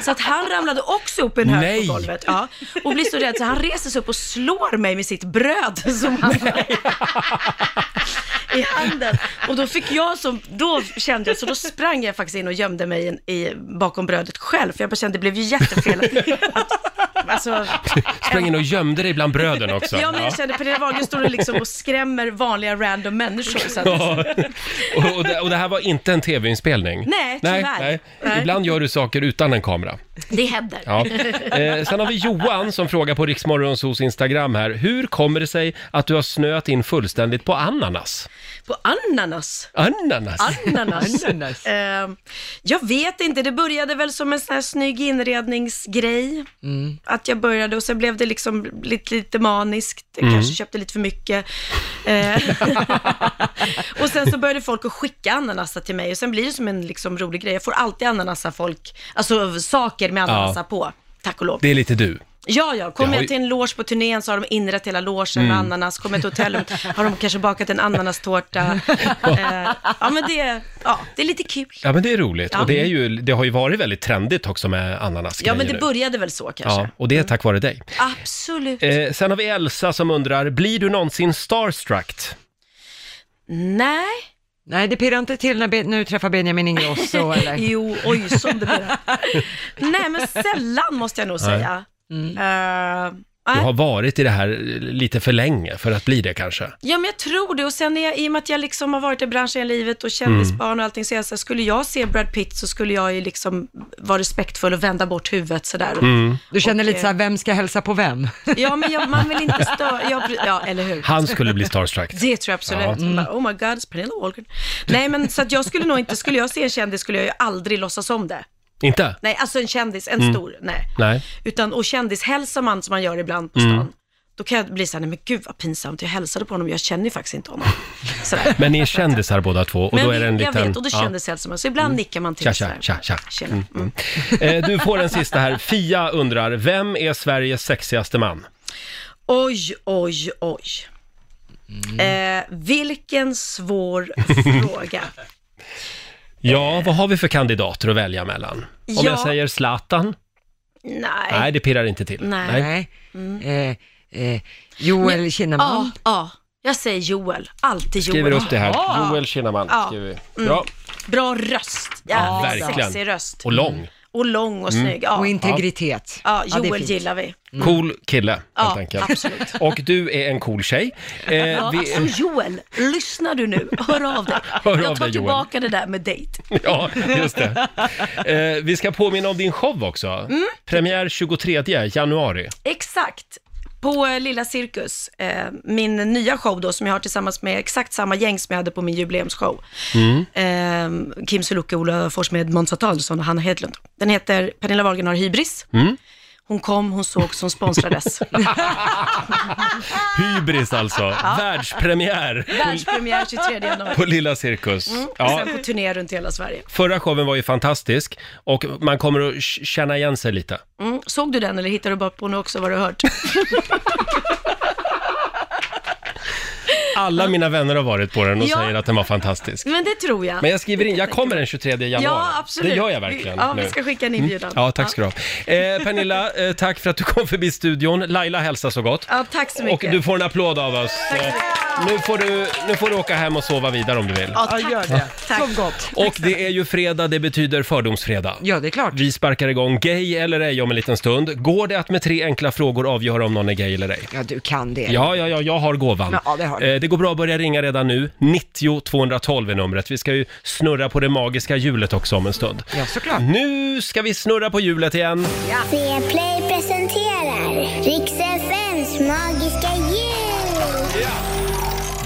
Speaker 11: Så att han ramlade också upp i en hög
Speaker 1: Nej.
Speaker 11: på golvet. Ja, och blir så rädd så han reser sig upp och slår mig med sitt bröd som han i handen. Och då fick jag som, då kände jag, så då sprang jag faktiskt in och gömde mig in, i, bakom brödet själv. För jag bara kände, det blev ju jättefel. Att, alltså,
Speaker 1: Sprang in och gömde dig bland bröden också.
Speaker 11: ja men jag
Speaker 1: Ja.
Speaker 11: kände, Pernilla Wahlgren står och liksom och skrämmer vanliga random människor. Så att,
Speaker 1: Ja. Och, och, det, och det här var inte en tv-inspelning?
Speaker 11: Nej, tyvärr. Nej.
Speaker 1: Ibland gör du saker utan en kamera.
Speaker 11: Det händer.
Speaker 1: Ja. Eh, sen har vi Johan som frågar på Riksmorgonsos Instagram här. Hur kommer det sig att du har snöat in fullständigt på ananas?
Speaker 11: På ananas.
Speaker 1: Ananas?
Speaker 11: Ananas. Eh, jag vet inte, det började väl som en sån här snygg inredningsgrej.
Speaker 8: Mm-hmm.
Speaker 11: Att jag började och sen blev det liksom lite, lite maniskt. Jag
Speaker 12: Mm.
Speaker 11: kanske köpte lite för mycket. Eh, och sen så började folk att skicka ananasar till mig och sen blir det som en liksom rolig grej. Jag får alltid ananasar folk, alltså saker med ananasar
Speaker 1: Ja.
Speaker 11: på. Tack och lov.
Speaker 1: Det är lite du.
Speaker 11: Ja, ja. Kommer
Speaker 1: Det har
Speaker 11: jag
Speaker 1: ju-
Speaker 11: till en loge på turnén så har de inrett hela logen med
Speaker 1: Mm.
Speaker 11: ananas. Kommer jag till hotellet har de kanske bakat en ananastårta. eh, ja, men det, ja, det är lite kul.
Speaker 1: Ja men det är roligt.
Speaker 11: Ja.
Speaker 1: Och det, är ju, det har ju varit väldigt trendigt också med ananas
Speaker 11: Ja, men det började väl så kanske. Mm.
Speaker 1: Ja, och det är tack vare dig.
Speaker 11: Absolut.
Speaker 1: Eh, sen har vi Elsa som undrar, blir du någonsin starstruck?
Speaker 11: Nej.
Speaker 2: Nej, det pirrar inte till när, Be- när du träffar Benjamin Ingrosso eller?
Speaker 11: jo, oj, som det blir. Nej, men sällan måste jag nog
Speaker 1: Nej. Mm.
Speaker 11: säga. Eh,
Speaker 1: Du
Speaker 11: nej.
Speaker 1: har varit i det här lite för länge för att bli det kanske.
Speaker 11: Ja, men jag tror det. Och sen är jag, i och med att jag liksom har varit i branschen hela livet och
Speaker 1: Mm.
Speaker 11: kändisbarn och allting, så är jag så här, skulle jag se Brad Pitt så skulle jag ju liksom vara respektfull och vända bort huvudet sådär.
Speaker 1: Mm.
Speaker 2: Du känner
Speaker 11: Och,
Speaker 2: lite så här,
Speaker 11: eh,
Speaker 2: vem ska hälsa på vem?
Speaker 11: Ja, men jag, man vill inte störa, ja, pre- ja, eller hur?
Speaker 1: Han skulle bli starstruck.
Speaker 11: Det tror jag absolut.
Speaker 1: Ja.
Speaker 11: Man Bara, oh my god, it's Pernilla Wahlgren. Nej, men så att jag skulle nog inte, skulle jag se en kändis skulle jag ju aldrig låtsas om det.
Speaker 1: Inte?
Speaker 11: Nej, alltså en kändis, en
Speaker 1: Mm.
Speaker 11: stor, nej.
Speaker 1: Nej.
Speaker 11: Utan, och kändishälsar man som man gör ibland på stan,
Speaker 1: Mm.
Speaker 11: då kan jag bli såhär, nej men gud vad pinsamt, jag hälsade på honom, jag känner ju faktiskt inte honom. Sådär.
Speaker 1: Men ni är kändisar båda två och
Speaker 11: men
Speaker 1: då är det en
Speaker 11: jag
Speaker 1: liten...
Speaker 11: vet, och då
Speaker 1: ja. Mm.
Speaker 11: kändishälsar man, så ibland nickar man till
Speaker 1: Tja, tja,
Speaker 11: sådär.
Speaker 1: tja, tja.
Speaker 11: Tjena.
Speaker 1: Mm, mm. Eh, du får en sista här. Fia undrar, vem är Sveriges sexigaste man?
Speaker 11: Oj, oj, oj.
Speaker 1: Mm.
Speaker 11: Eh, vilken svår fråga.
Speaker 1: Ja, vad har vi för kandidater att välja mellan? Om
Speaker 11: Ja.
Speaker 1: jag säger Zlatan?
Speaker 11: Nej.
Speaker 1: Nej, det pirrar inte till.
Speaker 11: Nej.
Speaker 1: Mm.
Speaker 2: Joel
Speaker 11: Ja,
Speaker 2: Kinnaman.
Speaker 11: ja. Jag säger Joel. Alltid Joel.
Speaker 1: Skriver upp det här.
Speaker 11: Ja.
Speaker 1: Joel Kinnaman
Speaker 11: Ja.
Speaker 1: skriver vi.
Speaker 11: Mm.
Speaker 1: Bra.
Speaker 11: Bra röst. Jävligt
Speaker 1: verkligen.
Speaker 11: sexig röst.
Speaker 1: Och lång.
Speaker 11: Och lång och
Speaker 1: Mm.
Speaker 11: snygg. Ja.
Speaker 1: Och integritet.
Speaker 11: Ja,
Speaker 1: Ja, det är
Speaker 11: Joel
Speaker 1: fint.
Speaker 11: gillar vi.
Speaker 1: Mm. Cool kille, helt
Speaker 11: Ja,
Speaker 1: enkelt.
Speaker 11: absolut.
Speaker 1: Och du är en cool tjej. Eh,
Speaker 11: ja,
Speaker 1: vi-
Speaker 11: alltså Joel, lyssnar du nu? Hör av dig.
Speaker 1: Hör av
Speaker 11: jag tar
Speaker 1: dig, Joel.
Speaker 11: tillbaka det där med dejt.
Speaker 1: Ja, just det. Eh, vi ska påminna om din show också.
Speaker 11: Mm.
Speaker 1: Premiär 23 januari.
Speaker 11: Exakt. På eh, Lilla Cirkus, eh, min nya show då, som jag har tillsammans med exakt samma gäng som jag hade på min jubileumsshow.
Speaker 1: Mm.
Speaker 11: Eh, Kim Sulocke, Ola Forssmed, Måns Adolfsson och Hanna Hedlund. Den heter Pernilla Wahlgren har hybris.
Speaker 1: Mm.
Speaker 11: Hon kom, hon sågs, hon sponsrades.
Speaker 1: Hybris alltså.
Speaker 11: Ja.
Speaker 1: Världspremiär på,
Speaker 11: Världspremiär 23 januari.
Speaker 1: på Lilla Cirkus.
Speaker 11: Mm. Och
Speaker 1: Ja.
Speaker 11: sen på turné runt hela Sverige.
Speaker 1: Förra showen var ju fantastisk och man kommer att k- känna igen sig lite.
Speaker 11: Mm. Såg du den eller hittade du bara på nu också vad du har hört?
Speaker 1: Alla mina vänner har varit på den och
Speaker 11: Ja.
Speaker 1: säger att den var fantastisk.
Speaker 11: Men det tror jag.
Speaker 1: Men jag skriver in, jag kommer den 23 januari.
Speaker 11: Ja, absolut.
Speaker 1: Det gör jag verkligen.
Speaker 11: Ja,
Speaker 1: nu. Mm.
Speaker 11: vi ska skicka en inbjudan.
Speaker 1: Ja, tack ska du ha. Eh, Pernilla, eh, tack för att du kom förbi studion. Laila hälsar så gott.
Speaker 11: Ja, tack så
Speaker 1: Och
Speaker 11: mycket.
Speaker 1: du får en applåd av oss. Eh, Nu får, du, nu får du åka hem och sova vidare om du vill.
Speaker 11: Ja, tack.
Speaker 1: gör det.
Speaker 11: Tack. Sov
Speaker 2: gott.
Speaker 1: Och det är ju fredag, det betyder fördomsfredag.
Speaker 2: Ja, det är klart.
Speaker 1: Vi sparkar igång gay eller ej om en liten stund. Går det att med tre enkla frågor avgöra om någon är gay eller ej?
Speaker 2: Ja, du kan det.
Speaker 1: Ja, ja, ja, jag har gåvan.
Speaker 2: Ja, det har du.
Speaker 1: Eh, det går bra att börja ringa redan nu. 90 212 är numret. Vi ska ju snurra på det magiska hjulet också om en stund.
Speaker 2: Ja, såklart.
Speaker 1: Nu ska vi snurra på hjulet igen.
Speaker 18: C-play presenterar Rix FMs magiska jul!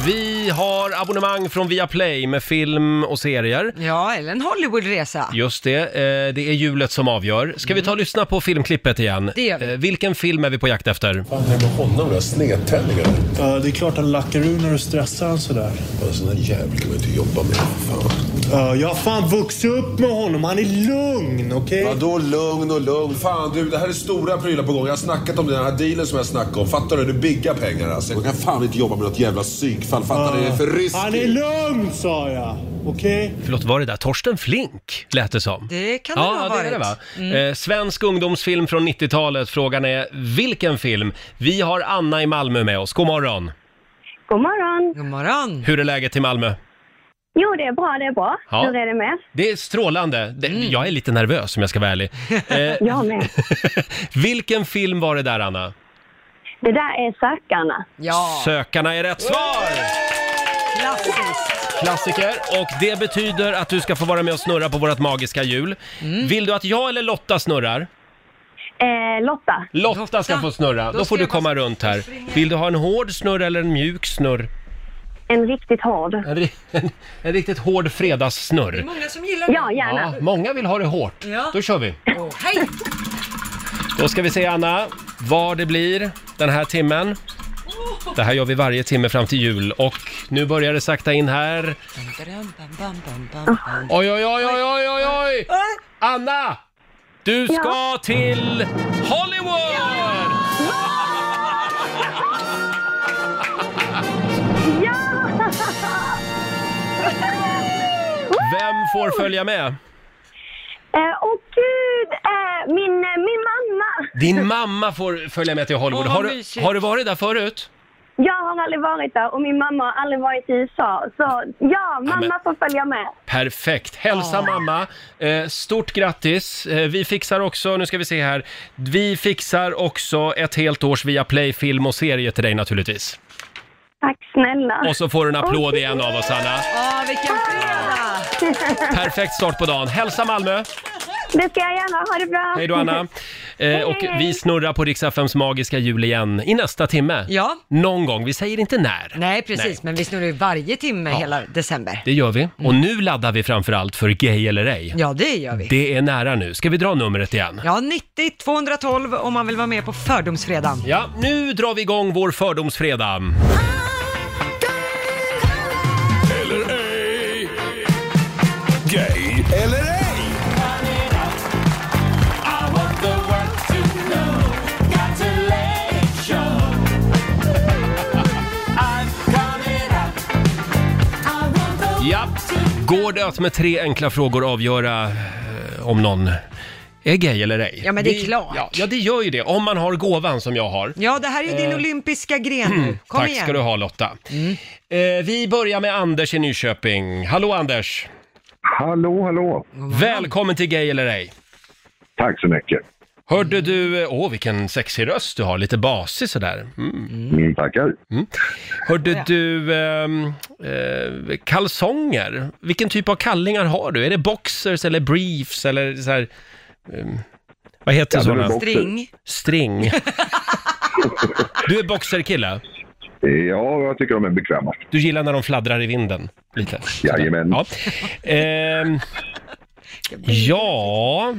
Speaker 1: Vi har abonnemang från Viaplay med film och serier.
Speaker 2: Ja, eller en Hollywoodresa.
Speaker 1: Just det, eh, det är hjulet som avgör. Ska vi ta och lyssna på filmklippet igen?
Speaker 2: Det gör vi.
Speaker 1: Eh, vilken film är vi på jakt efter?
Speaker 19: Fan, det honom då? Snedtändningar? Ja, det är klart han lackar ur när du stressar han sådär. Sådana jävlar kan man inte jobba med. Ja, jag har fan vuxit upp med honom. Han är lugn, okej?
Speaker 20: Vadå lugn och lugn? Fan du, det här är stora prylar på gång. Jag har snackat om den här dealen som jag snackade om. Fattar du? Det är bigga pengar alltså. Jag kan fan inte jobba med något jävla psykfall. Fattar du? Det är för riskigt.
Speaker 19: Han är lugn, sa jag. Okej?
Speaker 1: Förlåt, var det där Torsten Flink lät det som?
Speaker 2: Det kan det
Speaker 1: ja,
Speaker 2: nog ha
Speaker 1: det är
Speaker 2: varit.
Speaker 1: det va?
Speaker 2: Mm.
Speaker 1: Eh, svensk ungdomsfilm från 90-talet. Frågan är vilken film? Vi har Anna i Malmö med oss. God morgon!
Speaker 21: God morgon.
Speaker 2: God morgon!
Speaker 1: Hur är läget i Malmö?
Speaker 21: Jo, det är bra, det är bra.
Speaker 1: Ja.
Speaker 21: Hur är det med?
Speaker 1: Det är strålande. Det, Jag är lite nervös om jag ska vara ärlig. Eh,
Speaker 21: Jag med.
Speaker 1: vilken film var det där Anna?
Speaker 21: Det där är Sökarna.
Speaker 2: Ja.
Speaker 1: Sökarna är rätt svar!
Speaker 2: Klassiskt.
Speaker 1: Klassiker. Och det betyder att du ska få vara med och snurra på vårt magiska hjul. Vill du att jag eller Lotta snurrar?
Speaker 21: Eh, Lotta.
Speaker 1: Lotta, ska få snurra. Då,
Speaker 21: Då
Speaker 1: får
Speaker 21: ska
Speaker 1: du
Speaker 21: jag bara
Speaker 1: komma runt här. Vill du ha en hård snurr eller en mjuk snurr?
Speaker 21: En riktigt hård.
Speaker 1: En, ri- en, en riktigt hård fredagssnurr.
Speaker 2: Många som gillar
Speaker 21: Ja, gärna.
Speaker 1: Ja, många vill ha det hårt.
Speaker 2: Ja.
Speaker 1: Då kör vi.
Speaker 2: Åh, hej!
Speaker 1: Då ska vi se Anna, vad det blir den här timmen. Det här gör vi varje timme fram till jul och nu börjar det sakta in här. Oj, oj, oj, oj, oj, oj, oj! Anna! Du ska till Hollywood! Vem får följa med?
Speaker 21: Eh, åh gud, eh, min, eh, min mamma.
Speaker 1: Din mamma får följa med till Hollywood.
Speaker 21: Åh, vad
Speaker 1: Har du,
Speaker 21: mysigt.
Speaker 1: har du varit där förut?
Speaker 21: Jag har aldrig varit där och min mamma har aldrig varit i USA. Så ja, mamma
Speaker 1: men-
Speaker 21: får följa med.
Speaker 1: Perfekt! Hälsa mamma. Eh, stort grattis! Eh, vi fixar också, nu ska vi se här, vi fixar också ett helt års via Play film och serie till dig naturligtvis.
Speaker 21: Tack snälla.
Speaker 1: Och så får du en applåd igen av oss Anna.
Speaker 2: Ja,
Speaker 21: Ah,
Speaker 2: vilken fredag!
Speaker 1: Perfekt start på dagen. Hälsa Malmö!
Speaker 21: Det ska jag gärna. Ha det bra.
Speaker 1: Hej då Anna! Eh, och vi snurrar på Rix FMs magiska hjul igen i nästa timme.
Speaker 2: Ja.
Speaker 1: Någon gång, vi säger inte när.
Speaker 2: Nej, precis,
Speaker 1: Nej.
Speaker 2: men vi snurrar ju varje timme hela december.
Speaker 1: Det gör vi. Och nu laddar vi framför allt för Gay eller ej.
Speaker 2: Ja, det gör vi.
Speaker 1: Det är nära nu. Ska vi dra numret igen?
Speaker 2: Ja, 90 212 om man vill vara med på Fördomsfredagen.
Speaker 1: Ja, nu drar vi igång vår fördomsfredag.
Speaker 4: Eller ej. Gay eller ej.
Speaker 1: Ja. Går det att med tre enkla frågor avgöra eh, om någon är gay eller ej?
Speaker 2: Ja, men det är
Speaker 1: Vi-
Speaker 2: klart.
Speaker 1: Ja, ja, det gör ju det. Om man har gåvan som jag har.
Speaker 2: Ja, det här är ju din
Speaker 1: Eh,
Speaker 2: olympiska gren nu. Kom
Speaker 1: Tack
Speaker 2: igen.
Speaker 1: ska du ha Lotta. Eh, vi börjar med Anders i Nyköping. Hallå Anders!
Speaker 17: Hallå, hallå.
Speaker 1: Välkommen till Gay eller ej.
Speaker 17: Tack så mycket.
Speaker 1: Hörde du, eh, åh vilken sexig röst du har, lite basig sådär. Mm.
Speaker 17: Mm, tackar.
Speaker 1: Hörde du, ehm, eh, kalsonger, vilken typ av kallingar har du? Är det boxers eller briefs eller så här, ehm, vad heter
Speaker 17: Ja, det är väl
Speaker 1: sådana?
Speaker 17: boxer. String.
Speaker 1: String. du är boxerkille,
Speaker 17: Ja, jag tycker de är bekvämast.
Speaker 1: du gillar när de fladdrar i vinden lite?
Speaker 17: Jajamän.
Speaker 1: Ja. Ehm, ja,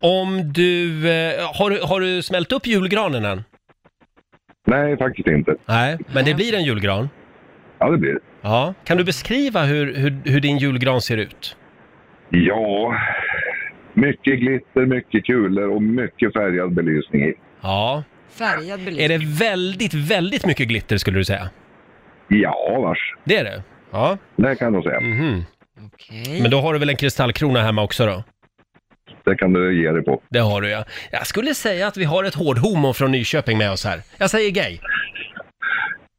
Speaker 1: om du... eh, Har, du- har du smält upp julgranen än?
Speaker 17: Nej, faktiskt inte.
Speaker 1: Nej, men det blir en julgran?
Speaker 17: Ja, det blir det.
Speaker 1: Ja. Kan du beskriva hur, hur, hur din julgran ser ut?
Speaker 17: Ja, mycket glitter, mycket kulor och mycket färgad belysning i.
Speaker 1: Ja.
Speaker 2: Färgad belysning.
Speaker 1: Är det väldigt, väldigt mycket glitter skulle du säga?
Speaker 17: Ja, vars.
Speaker 1: Det är det? Ja. Mhm.
Speaker 17: Det kan du säga.
Speaker 1: Men då har du väl en kristallkrona hemma också då?
Speaker 17: Det kan du ge dig på.
Speaker 1: Det har du ja. Jag skulle säga att vi har ett hårdhomo från Nyköping med oss här. Jag säger gay.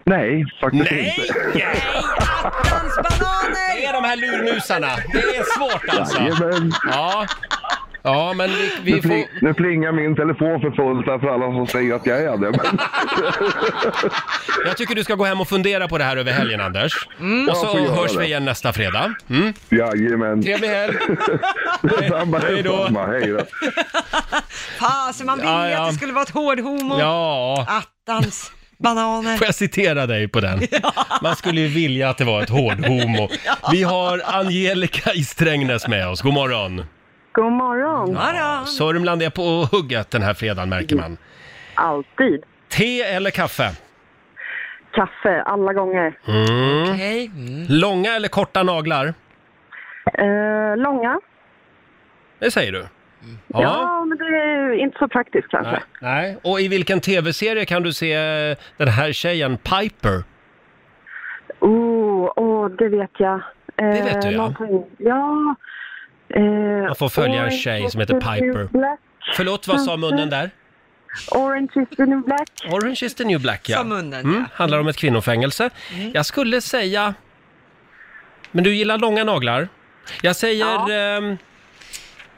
Speaker 17: Nej, faktiskt
Speaker 1: Nej,
Speaker 17: inte.
Speaker 1: Nej! Attans bananer! Det är de här lurmusarna. Det är svårt alltså.
Speaker 17: Jajamän.
Speaker 1: Ja. Ja, men vi,
Speaker 17: Nu, pling,
Speaker 1: vi får...
Speaker 17: nu plingar min telefon för fullt här för alla som säger att jag är det. Men...
Speaker 1: Jag tycker du ska gå hem och fundera på det här över helgen, Anders.
Speaker 17: Mm. Ja,
Speaker 1: Och
Speaker 17: får
Speaker 1: så
Speaker 17: göra
Speaker 1: hörs
Speaker 17: det.
Speaker 1: vi igen nästa fredag. Mm.
Speaker 17: Jajamän.
Speaker 1: Trevlig helg!
Speaker 17: Detsamma,
Speaker 1: Hej då.
Speaker 17: detsamma. Hej då.
Speaker 2: Fasen, man ville
Speaker 1: Ja, ja.
Speaker 2: att det skulle vara ett hårdhomo.
Speaker 1: Ja.
Speaker 2: Attans bananer.
Speaker 1: Får jag citera dig på den? Man skulle ju vilja att det var ett hårdhomo. Vi har Angelica i Strängnäs med oss. God morgon!
Speaker 7: God morgon.
Speaker 1: Ja, Sörmland är på hugget den här fredagen märker man.
Speaker 7: Alltid.
Speaker 1: Te eller kaffe?
Speaker 7: Kaffe, alla gånger.
Speaker 1: Mm. Långa eller korta naglar?
Speaker 7: Eh, långa?
Speaker 1: Det säger du?
Speaker 7: Ja. men det är ju inte så praktiskt kanske.
Speaker 1: Nej. Nej. Och i vilken tv-serie kan du se eh, den här tjejen Piper?
Speaker 7: Oh, oh, det vet jag. det
Speaker 1: vet du, ja.
Speaker 7: Eh, ja. Eh,
Speaker 1: Man får följa en
Speaker 7: Orange
Speaker 1: tjej
Speaker 7: is
Speaker 1: som heter
Speaker 7: the new
Speaker 1: Piper.
Speaker 7: black.
Speaker 1: Förlåt, vad sa munnen där?
Speaker 7: Orange is the new black.
Speaker 1: Orange is the new black, ja.
Speaker 7: Sa munnen,
Speaker 1: mm, handlar om ett kvinnofängelse.
Speaker 2: Mm.
Speaker 1: Jag skulle säga... Men du gillar långa naglar? Jag säger... ehm,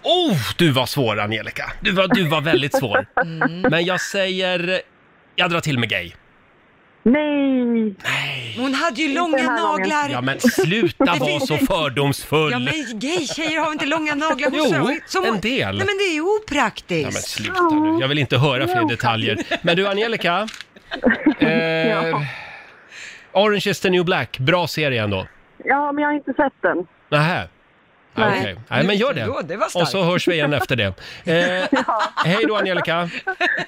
Speaker 1: Oh, du var svår Angelica! Du var, du var väldigt svår.
Speaker 2: Mm.
Speaker 1: Men jag säger... Jag drar till med gay.
Speaker 7: Nej!
Speaker 2: Hon hade ju långa
Speaker 7: här gången.
Speaker 2: naglar.
Speaker 1: Ja men sluta
Speaker 2: Det
Speaker 1: vara
Speaker 2: finns
Speaker 1: så
Speaker 2: ju-
Speaker 1: fördomsfull!
Speaker 2: Ja, men gay-tjejer har inte långa naglar
Speaker 1: Jo,
Speaker 2: hon-
Speaker 1: en
Speaker 2: hon-
Speaker 1: del.
Speaker 2: Nej men det är ju opraktiskt.
Speaker 1: Ja, men sluta nu. Jag vill inte höra fler detaljer. Men du Angelica. Eh, Orange is the new black. Bra serie ändå.
Speaker 7: Ja, men jag har inte sett den.
Speaker 1: Nähä. Nej.
Speaker 7: Nej.
Speaker 1: Okej. Nej, men gör det.
Speaker 7: Då, det var starkt.
Speaker 1: Och så hörs vi igen efter det. Eh, hej då Angelica.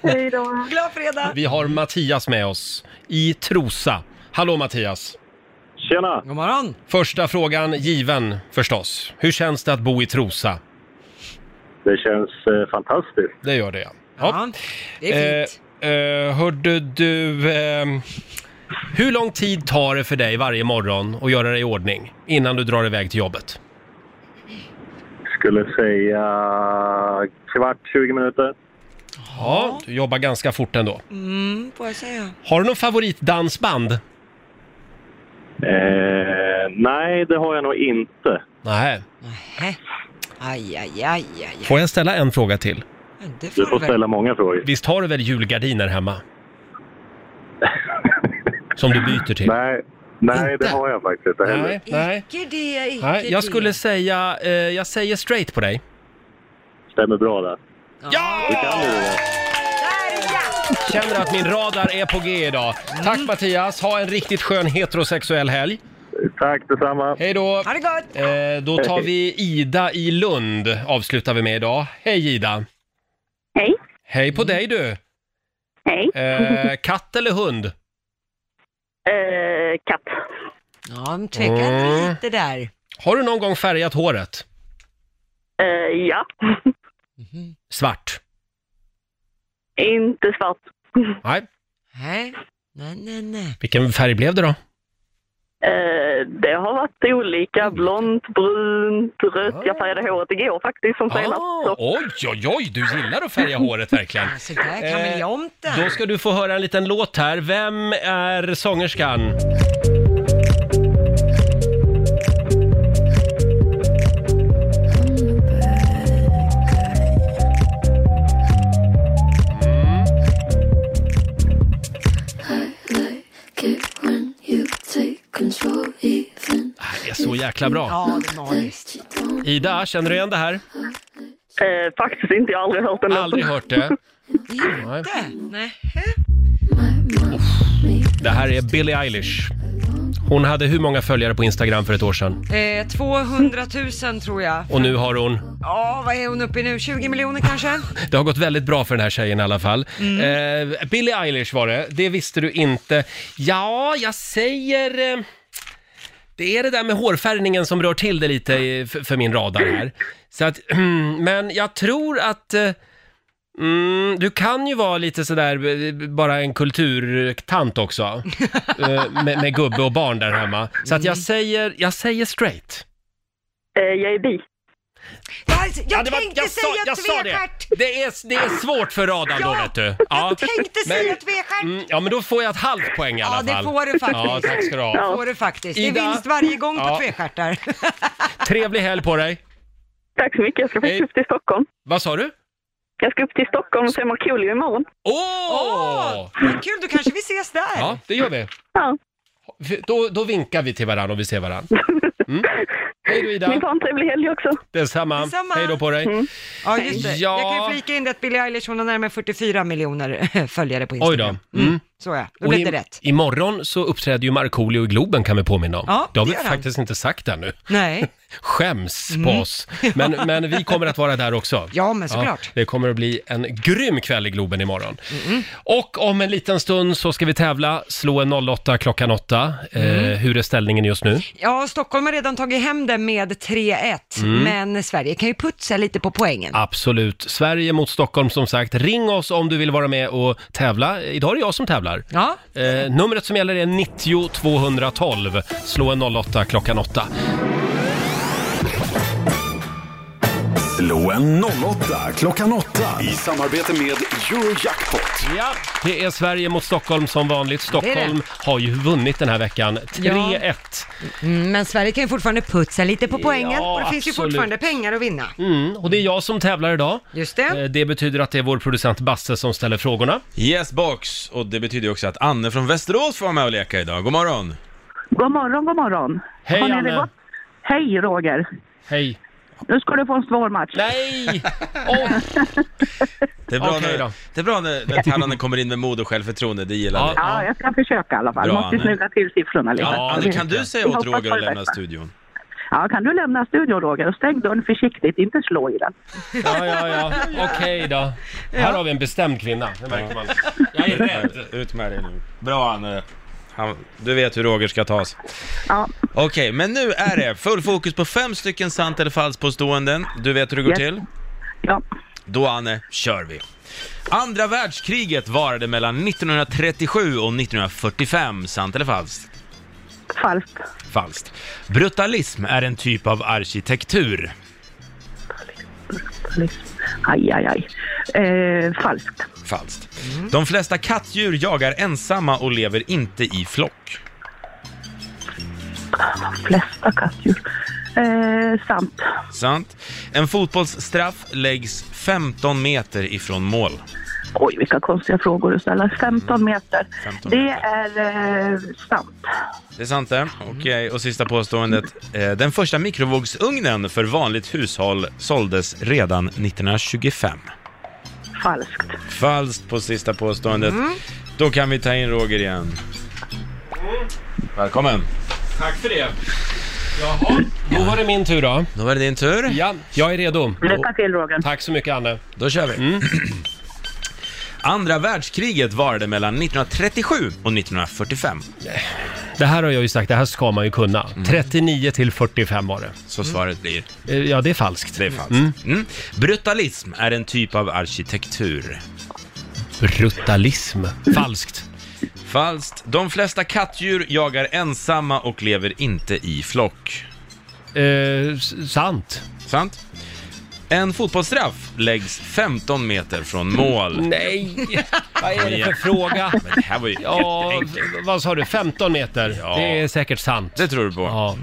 Speaker 7: Hej då. Glad
Speaker 2: fredag.
Speaker 1: Vi har Mattias med oss i Trosa. Hallå Mattias.
Speaker 16: Tjena.
Speaker 2: God morgon.
Speaker 1: Första frågan given förstås. Hur känns det att bo i Trosa?
Speaker 16: Det känns eh, fantastiskt.
Speaker 1: Det gör det ja.
Speaker 16: Ja,
Speaker 1: det är fint. Eh, eh, hörde du, ehm, hur lång tid tar det för dig varje morgon att göra dig i ordning innan du drar iväg till jobbet?
Speaker 16: Skulle säga kvart, 20 minuter.
Speaker 1: Ja, du jobbar ganska fort ändå.
Speaker 2: Mm, får jag säga.
Speaker 1: Har du någon favoritdansband?
Speaker 16: Eh, nej, det har jag nog inte.
Speaker 1: Nej.
Speaker 2: Aj, aj, aj, aj.
Speaker 1: Får jag ställa en fråga till?
Speaker 2: Det
Speaker 16: Du får
Speaker 2: väl.
Speaker 16: ställa många frågor.
Speaker 1: Visst har du väl julgardiner hemma? Som du byter till?
Speaker 16: Nej, nej det har jag faktiskt inte heller.
Speaker 1: Nej, nej.
Speaker 2: Icke det, icke
Speaker 1: nej. Jag
Speaker 2: det.
Speaker 1: skulle säga, eh, jag säger straight på dig.
Speaker 16: Stämmer bra där.
Speaker 1: Ja! Känner att min radar är på G idag. Tack
Speaker 16: Mm.
Speaker 1: Mattias, ha en riktigt skön heterosexuell helg.
Speaker 16: Tack detsamma.
Speaker 1: Hej då. Ha
Speaker 2: det gott.
Speaker 1: Eh, då tar vi Ida i Lund, avslutar vi med idag. Hej Ida.
Speaker 7: Hej.
Speaker 1: Hej på dig du.
Speaker 7: Hej.
Speaker 1: Eh, katt eller hund?
Speaker 7: Eh, katt.
Speaker 2: Ja, men tveka inte
Speaker 1: Mm.
Speaker 2: lite där.
Speaker 1: Har du någon gång färgat håret?
Speaker 7: Eh, ja.
Speaker 1: Svart?
Speaker 7: inte svart.
Speaker 1: Nej.
Speaker 2: Nej, nej, nej. nej.
Speaker 1: Vilken färg blev det då?
Speaker 7: Eh, det har varit olika. Blont, brunt, rött. Jag färgade håret igår faktiskt som senast.
Speaker 1: Ah, oj, oj, oj, du gillar att färga håret verkligen.
Speaker 2: Så där kan
Speaker 1: Eh.
Speaker 2: väl jag inte.
Speaker 1: Då ska du få höra en liten låt här. Vem är sångerskan? jäkla bra.
Speaker 2: Ja, det är magiskt.
Speaker 1: Ida, känner du igen det här?
Speaker 22: Eh, faktiskt inte, jag har aldrig hört den låten.
Speaker 1: Aldrig hört det. Nej.
Speaker 2: Nej.
Speaker 1: Det här är Billie Eilish. Hon hade hur många följare på Instagram för ett år sedan?
Speaker 2: Eh, 200 000 tror jag.
Speaker 1: Och nu har hon...
Speaker 2: Ja, vad är hon uppe i nu? 20 miljoner kanske?
Speaker 1: Det har gått väldigt bra för den här tjejen i alla fall.
Speaker 2: Mm.
Speaker 1: Eh, Billie Eilish var det, det visste du inte. Ja, jag säger... eh, Det är det där med hårfärgningen som rör till det lite i- för, för min radar här. Så att, men jag tror att... eh, Mm, du kan ju vara lite sådär, eh, bara en kulturtant också. Eh, med, med gubbe och barn där hemma. Så att
Speaker 2: Mm.
Speaker 1: jag säger, jag säger straight.
Speaker 22: Eh, jag är bi.
Speaker 2: alltså, Jag,
Speaker 1: det var-
Speaker 2: tänkte
Speaker 1: jag sa-
Speaker 2: säga
Speaker 1: jag sa det.
Speaker 2: tvestjärt!
Speaker 1: Det är, det är svårt för radarn då,
Speaker 2: Ja,
Speaker 1: vet du.
Speaker 2: Jag tänkte säga tvestjärt!
Speaker 1: Mm, ja, men då får jag ett halvt poäng i alla
Speaker 2: Ja, det
Speaker 1: fall.
Speaker 2: får du faktiskt.
Speaker 1: Ja, tack ska du ha.
Speaker 2: Det får du faktiskt. Det är
Speaker 1: Ida.
Speaker 2: vinst varje gång på
Speaker 1: Ja.
Speaker 2: tvestjärtar.
Speaker 1: Trevlig helg på dig.
Speaker 22: Tack så mycket, jag ska faktiskt upp till Stockholm.
Speaker 1: Vad sa du?
Speaker 22: Jag ska upp till Stockholm och se Markoolio imorgon.
Speaker 1: Åh!
Speaker 2: Vad Kul, då kanske vi ses där.
Speaker 1: Ja, det gör vi.
Speaker 22: Ja.
Speaker 1: Då, då vinkar vi till varandra om vi ser varandra. Mm. Hej då
Speaker 22: Ni
Speaker 1: Ida.
Speaker 22: får ha en trevlig helg också. Mm.
Speaker 1: Detsamma.
Speaker 2: Detsamma.
Speaker 1: Hej då på dig.
Speaker 2: Ja, just det.
Speaker 1: Ja.
Speaker 2: Jag kan ju flika in det att Billie Eilish, hon har närmare 44 miljoner eh, följare på
Speaker 1: Oj
Speaker 2: Instagram.
Speaker 1: då. Mm.
Speaker 2: Mm. Så ja, då blev
Speaker 1: i-
Speaker 2: det rätt.
Speaker 1: Imorgon så uppträder ju Markoolio i Globen kan vi påminna om.
Speaker 2: Ja,
Speaker 1: det har vi
Speaker 2: det gör han.
Speaker 1: faktiskt inte sagt ännu.
Speaker 2: Nej.
Speaker 1: Skäms på
Speaker 2: Mm.
Speaker 1: oss. Men, men vi kommer att vara där också.
Speaker 2: Ja, men såklart.
Speaker 1: det kommer att bli en grym kväll i Globen imorgon. Och om en liten stund så ska vi tävla. Slå en 08 klockan 8.
Speaker 2: Mm.
Speaker 1: Eh, hur är ställningen just nu?
Speaker 2: Ja, Stockholm har redan tagit hem det med 3-1,
Speaker 1: Mm.
Speaker 2: men Sverige kan ju putsa lite på poängen.
Speaker 1: Absolut. Sverige mot Stockholm som sagt. Ring oss om du vill vara med och tävla. Idag är det jag som tävlar.
Speaker 2: Ja.
Speaker 1: Eh, numret som gäller är 90 212. Slå en 08 klockan 8.
Speaker 4: Slå en 08 klockan 8 i samarbete med Eurojackpot.
Speaker 1: Ja, det är Sverige mot Stockholm som vanligt.
Speaker 2: det.
Speaker 1: Stockholm har ju vunnit den här veckan. 3-1.
Speaker 2: Mm, men Sverige kan ju fortfarande putsa lite på poängen
Speaker 1: Ja,
Speaker 2: och det finns ju
Speaker 1: absolut.
Speaker 2: fortfarande pengar att vinna.
Speaker 1: Mm, och det är jag som tävlar idag.
Speaker 2: Just det.
Speaker 1: Eh, Det betyder att det är vår producent Basse som ställer frågorna.
Speaker 3: Yes box, och det betyder ju också att Anne från Västerås får vara med och leka idag. God morgon!
Speaker 7: God morgon, god morgon.
Speaker 1: Hej,
Speaker 7: Har ni det
Speaker 1: Anne.
Speaker 7: gott? Hej Roger.
Speaker 1: Hej.
Speaker 7: Nu ska du få en svår match.
Speaker 1: Nej!
Speaker 3: Det är bra,
Speaker 1: Okej
Speaker 3: när, det är bra när, när tävlanden kommer in med mod och självförtroende, det gillar vi.
Speaker 7: Ja, jag ska försöka i alla fall.
Speaker 3: Bra,
Speaker 7: Måste
Speaker 3: Anne.
Speaker 7: snygga till siffrorna lite.
Speaker 3: Ja, Anne, kan du säga
Speaker 7: Vi
Speaker 3: åt
Speaker 7: hoppas
Speaker 3: Roger
Speaker 7: på
Speaker 3: att
Speaker 7: det
Speaker 3: lämna
Speaker 7: bästa.
Speaker 3: studion?
Speaker 7: Ja, kan du lämna studion Roger och stäng dörren försiktigt, inte slå i den.
Speaker 1: Ja, ja, ja. Okej då. Här har vi en bestämd kvinna. Det märker man. Jag är rädd.
Speaker 3: Eh, Ut med dig nu. Bra Anne. Han, du vet hur Roger ska tas.
Speaker 7: Ja.
Speaker 3: Okej, men nu är det full fokus på fem stycken sant eller falskt påståenden. Du vet hur det går
Speaker 7: Yes.
Speaker 3: till?
Speaker 7: Ja.
Speaker 3: Då Anne, kör vi. Andra världskriget varade mellan 1937 och 1945, sant eller falskt?
Speaker 7: Falskt.
Speaker 3: Falskt. Brutalism är en typ av arkitektur.
Speaker 7: Aj, aj, aj. Eh, falskt.
Speaker 3: Falskt.
Speaker 7: Mhm.
Speaker 3: De flesta kattdjur jagar ensamma och lever inte i flock.
Speaker 7: Flesta kattdjur. Eh, sant.
Speaker 3: Sant. En fotbollsstraff läggs 15 meter ifrån mål.
Speaker 7: Oj, vilka konstiga frågor du ställer. 15 meter.
Speaker 3: 15
Speaker 7: Det är eh, sant.
Speaker 3: Det är sant det. Okej, och sista påståendet. Eh, Den första mikrovågsugnen för vanligt hushåll såldes redan 1925.
Speaker 7: Falskt.
Speaker 3: Falskt på sista påståendet.
Speaker 7: Mm.
Speaker 3: Då kan vi ta in Roger igen. Välkommen.
Speaker 1: Tack för det. Jaha, då var det min tur då.
Speaker 3: Då var det din tur.
Speaker 1: Ja, jag är redo. Mm.
Speaker 7: Lycka till Roger.
Speaker 1: Tack så mycket Anne.
Speaker 3: Då kör vi. Andra världskriget varade mellan 1937 och 1945.
Speaker 1: Det här har jag ju sagt, det här ska man ju kunna. 39 till 45 var det.
Speaker 3: Mm. Så svaret blir?
Speaker 1: Eh, Ja, det är falskt.
Speaker 3: Det är falskt. Mm. Brutalism är en typ av arkitektur.
Speaker 1: Brutalism.
Speaker 3: Mm.
Speaker 1: Falskt.
Speaker 3: Falskt. De flesta kattdjur jagar ensamma och lever inte i flock.
Speaker 1: sant.
Speaker 3: Sant. En fotbollsstraff läggs 15 meter från mål.
Speaker 1: Nej! Vad är det
Speaker 3: Ja.
Speaker 1: för fråga?
Speaker 3: Men det här var ju
Speaker 1: Ja,
Speaker 3: jätteenkelt.
Speaker 1: vad sa du? 15 meter?
Speaker 3: Ja.
Speaker 1: Det är säkert sant.
Speaker 3: Det tror du på? Ja.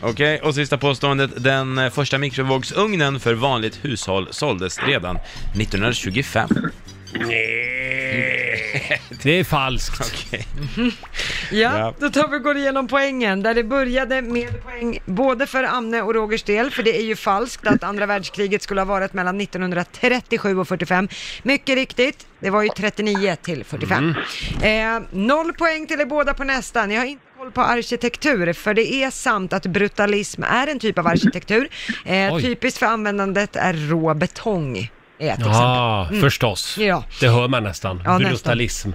Speaker 3: Okej, och sista påståendet. Den eh, första mikrovågsugnen för vanligt hushåll såldes redan 1925.
Speaker 1: Nej. Nej, det är falskt.
Speaker 2: Ja, då tar vi och går igenom poängen där det började med poäng både för Amne och Rogers del, för det är ju falskt att andra världskriget skulle ha varit mellan 1937 och 45. Mycket riktigt, det var ju 39 till 45.
Speaker 1: Mm.
Speaker 2: Eh, noll poäng till er båda på nästa. Ni har inte koll på arkitektur, för det är sant att brutalism är en typ av arkitektur. Eh,
Speaker 1: Oj.
Speaker 2: typiskt för användandet är rå betong. Är ett
Speaker 1: Ja,
Speaker 2: exempel. Mm.
Speaker 1: förstås.
Speaker 2: Ja.
Speaker 1: Det hör man nästan.
Speaker 2: Ja, nästan.
Speaker 1: Brutalism.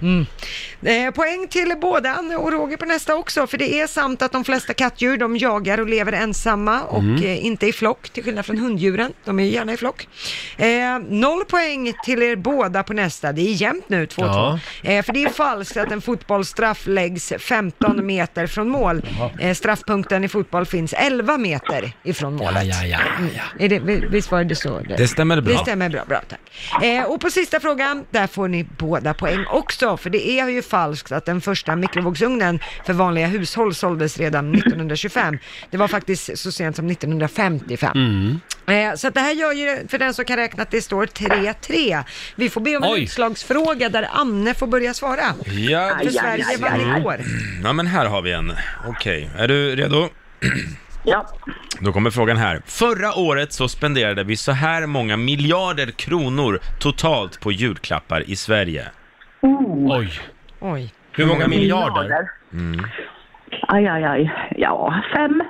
Speaker 2: Eh, poäng till både Anne och Roger på nästa också, för det är sant att de flesta kattdjur de jagar och lever ensamma och
Speaker 1: Mm.
Speaker 2: eh, inte i flock, till skillnad från hunddjuren. De är ju gärna i flock. Eh, noll poäng till er båda på nästa. Det är jämnt nu, 2-2.
Speaker 1: Ja.
Speaker 2: Eh, för det är falskt att en fotbollsstraff läggs 15 meter från mål. Eh, straffpunkten i fotboll finns 11 meter ifrån målet.
Speaker 1: Ja, ja, ja,
Speaker 2: Mm. Är det, vi- visst var det så?
Speaker 3: Det stämmer bra.
Speaker 2: Det stämmer bra, bra tack. Eh, och på sista frågan, där får ni båda poäng också, för det är ju falskt att den första mikrovågsugnen för vanliga hushåll såldes redan 1925. Det var faktiskt så sent som 1955.
Speaker 1: Mm.
Speaker 2: Eh, så att det här gör ju, för den som kan räkna, att det står 3-3. Vi får be om en
Speaker 3: Oj.
Speaker 2: utslagsfråga där Amne får börja svara.
Speaker 3: Ja,
Speaker 2: För Sverige vann igår.
Speaker 3: Mm. Ja, men här har vi en. Okej, är du redo?
Speaker 22: Ja.
Speaker 3: Då kommer frågan här. Förra året så spenderade vi så här många miljarder kronor totalt på julklappar i Sverige.
Speaker 1: Oj.
Speaker 2: Oj.
Speaker 1: Hur många miljarder?
Speaker 3: Mm.
Speaker 7: Aj, aj, aj. Ja, fem.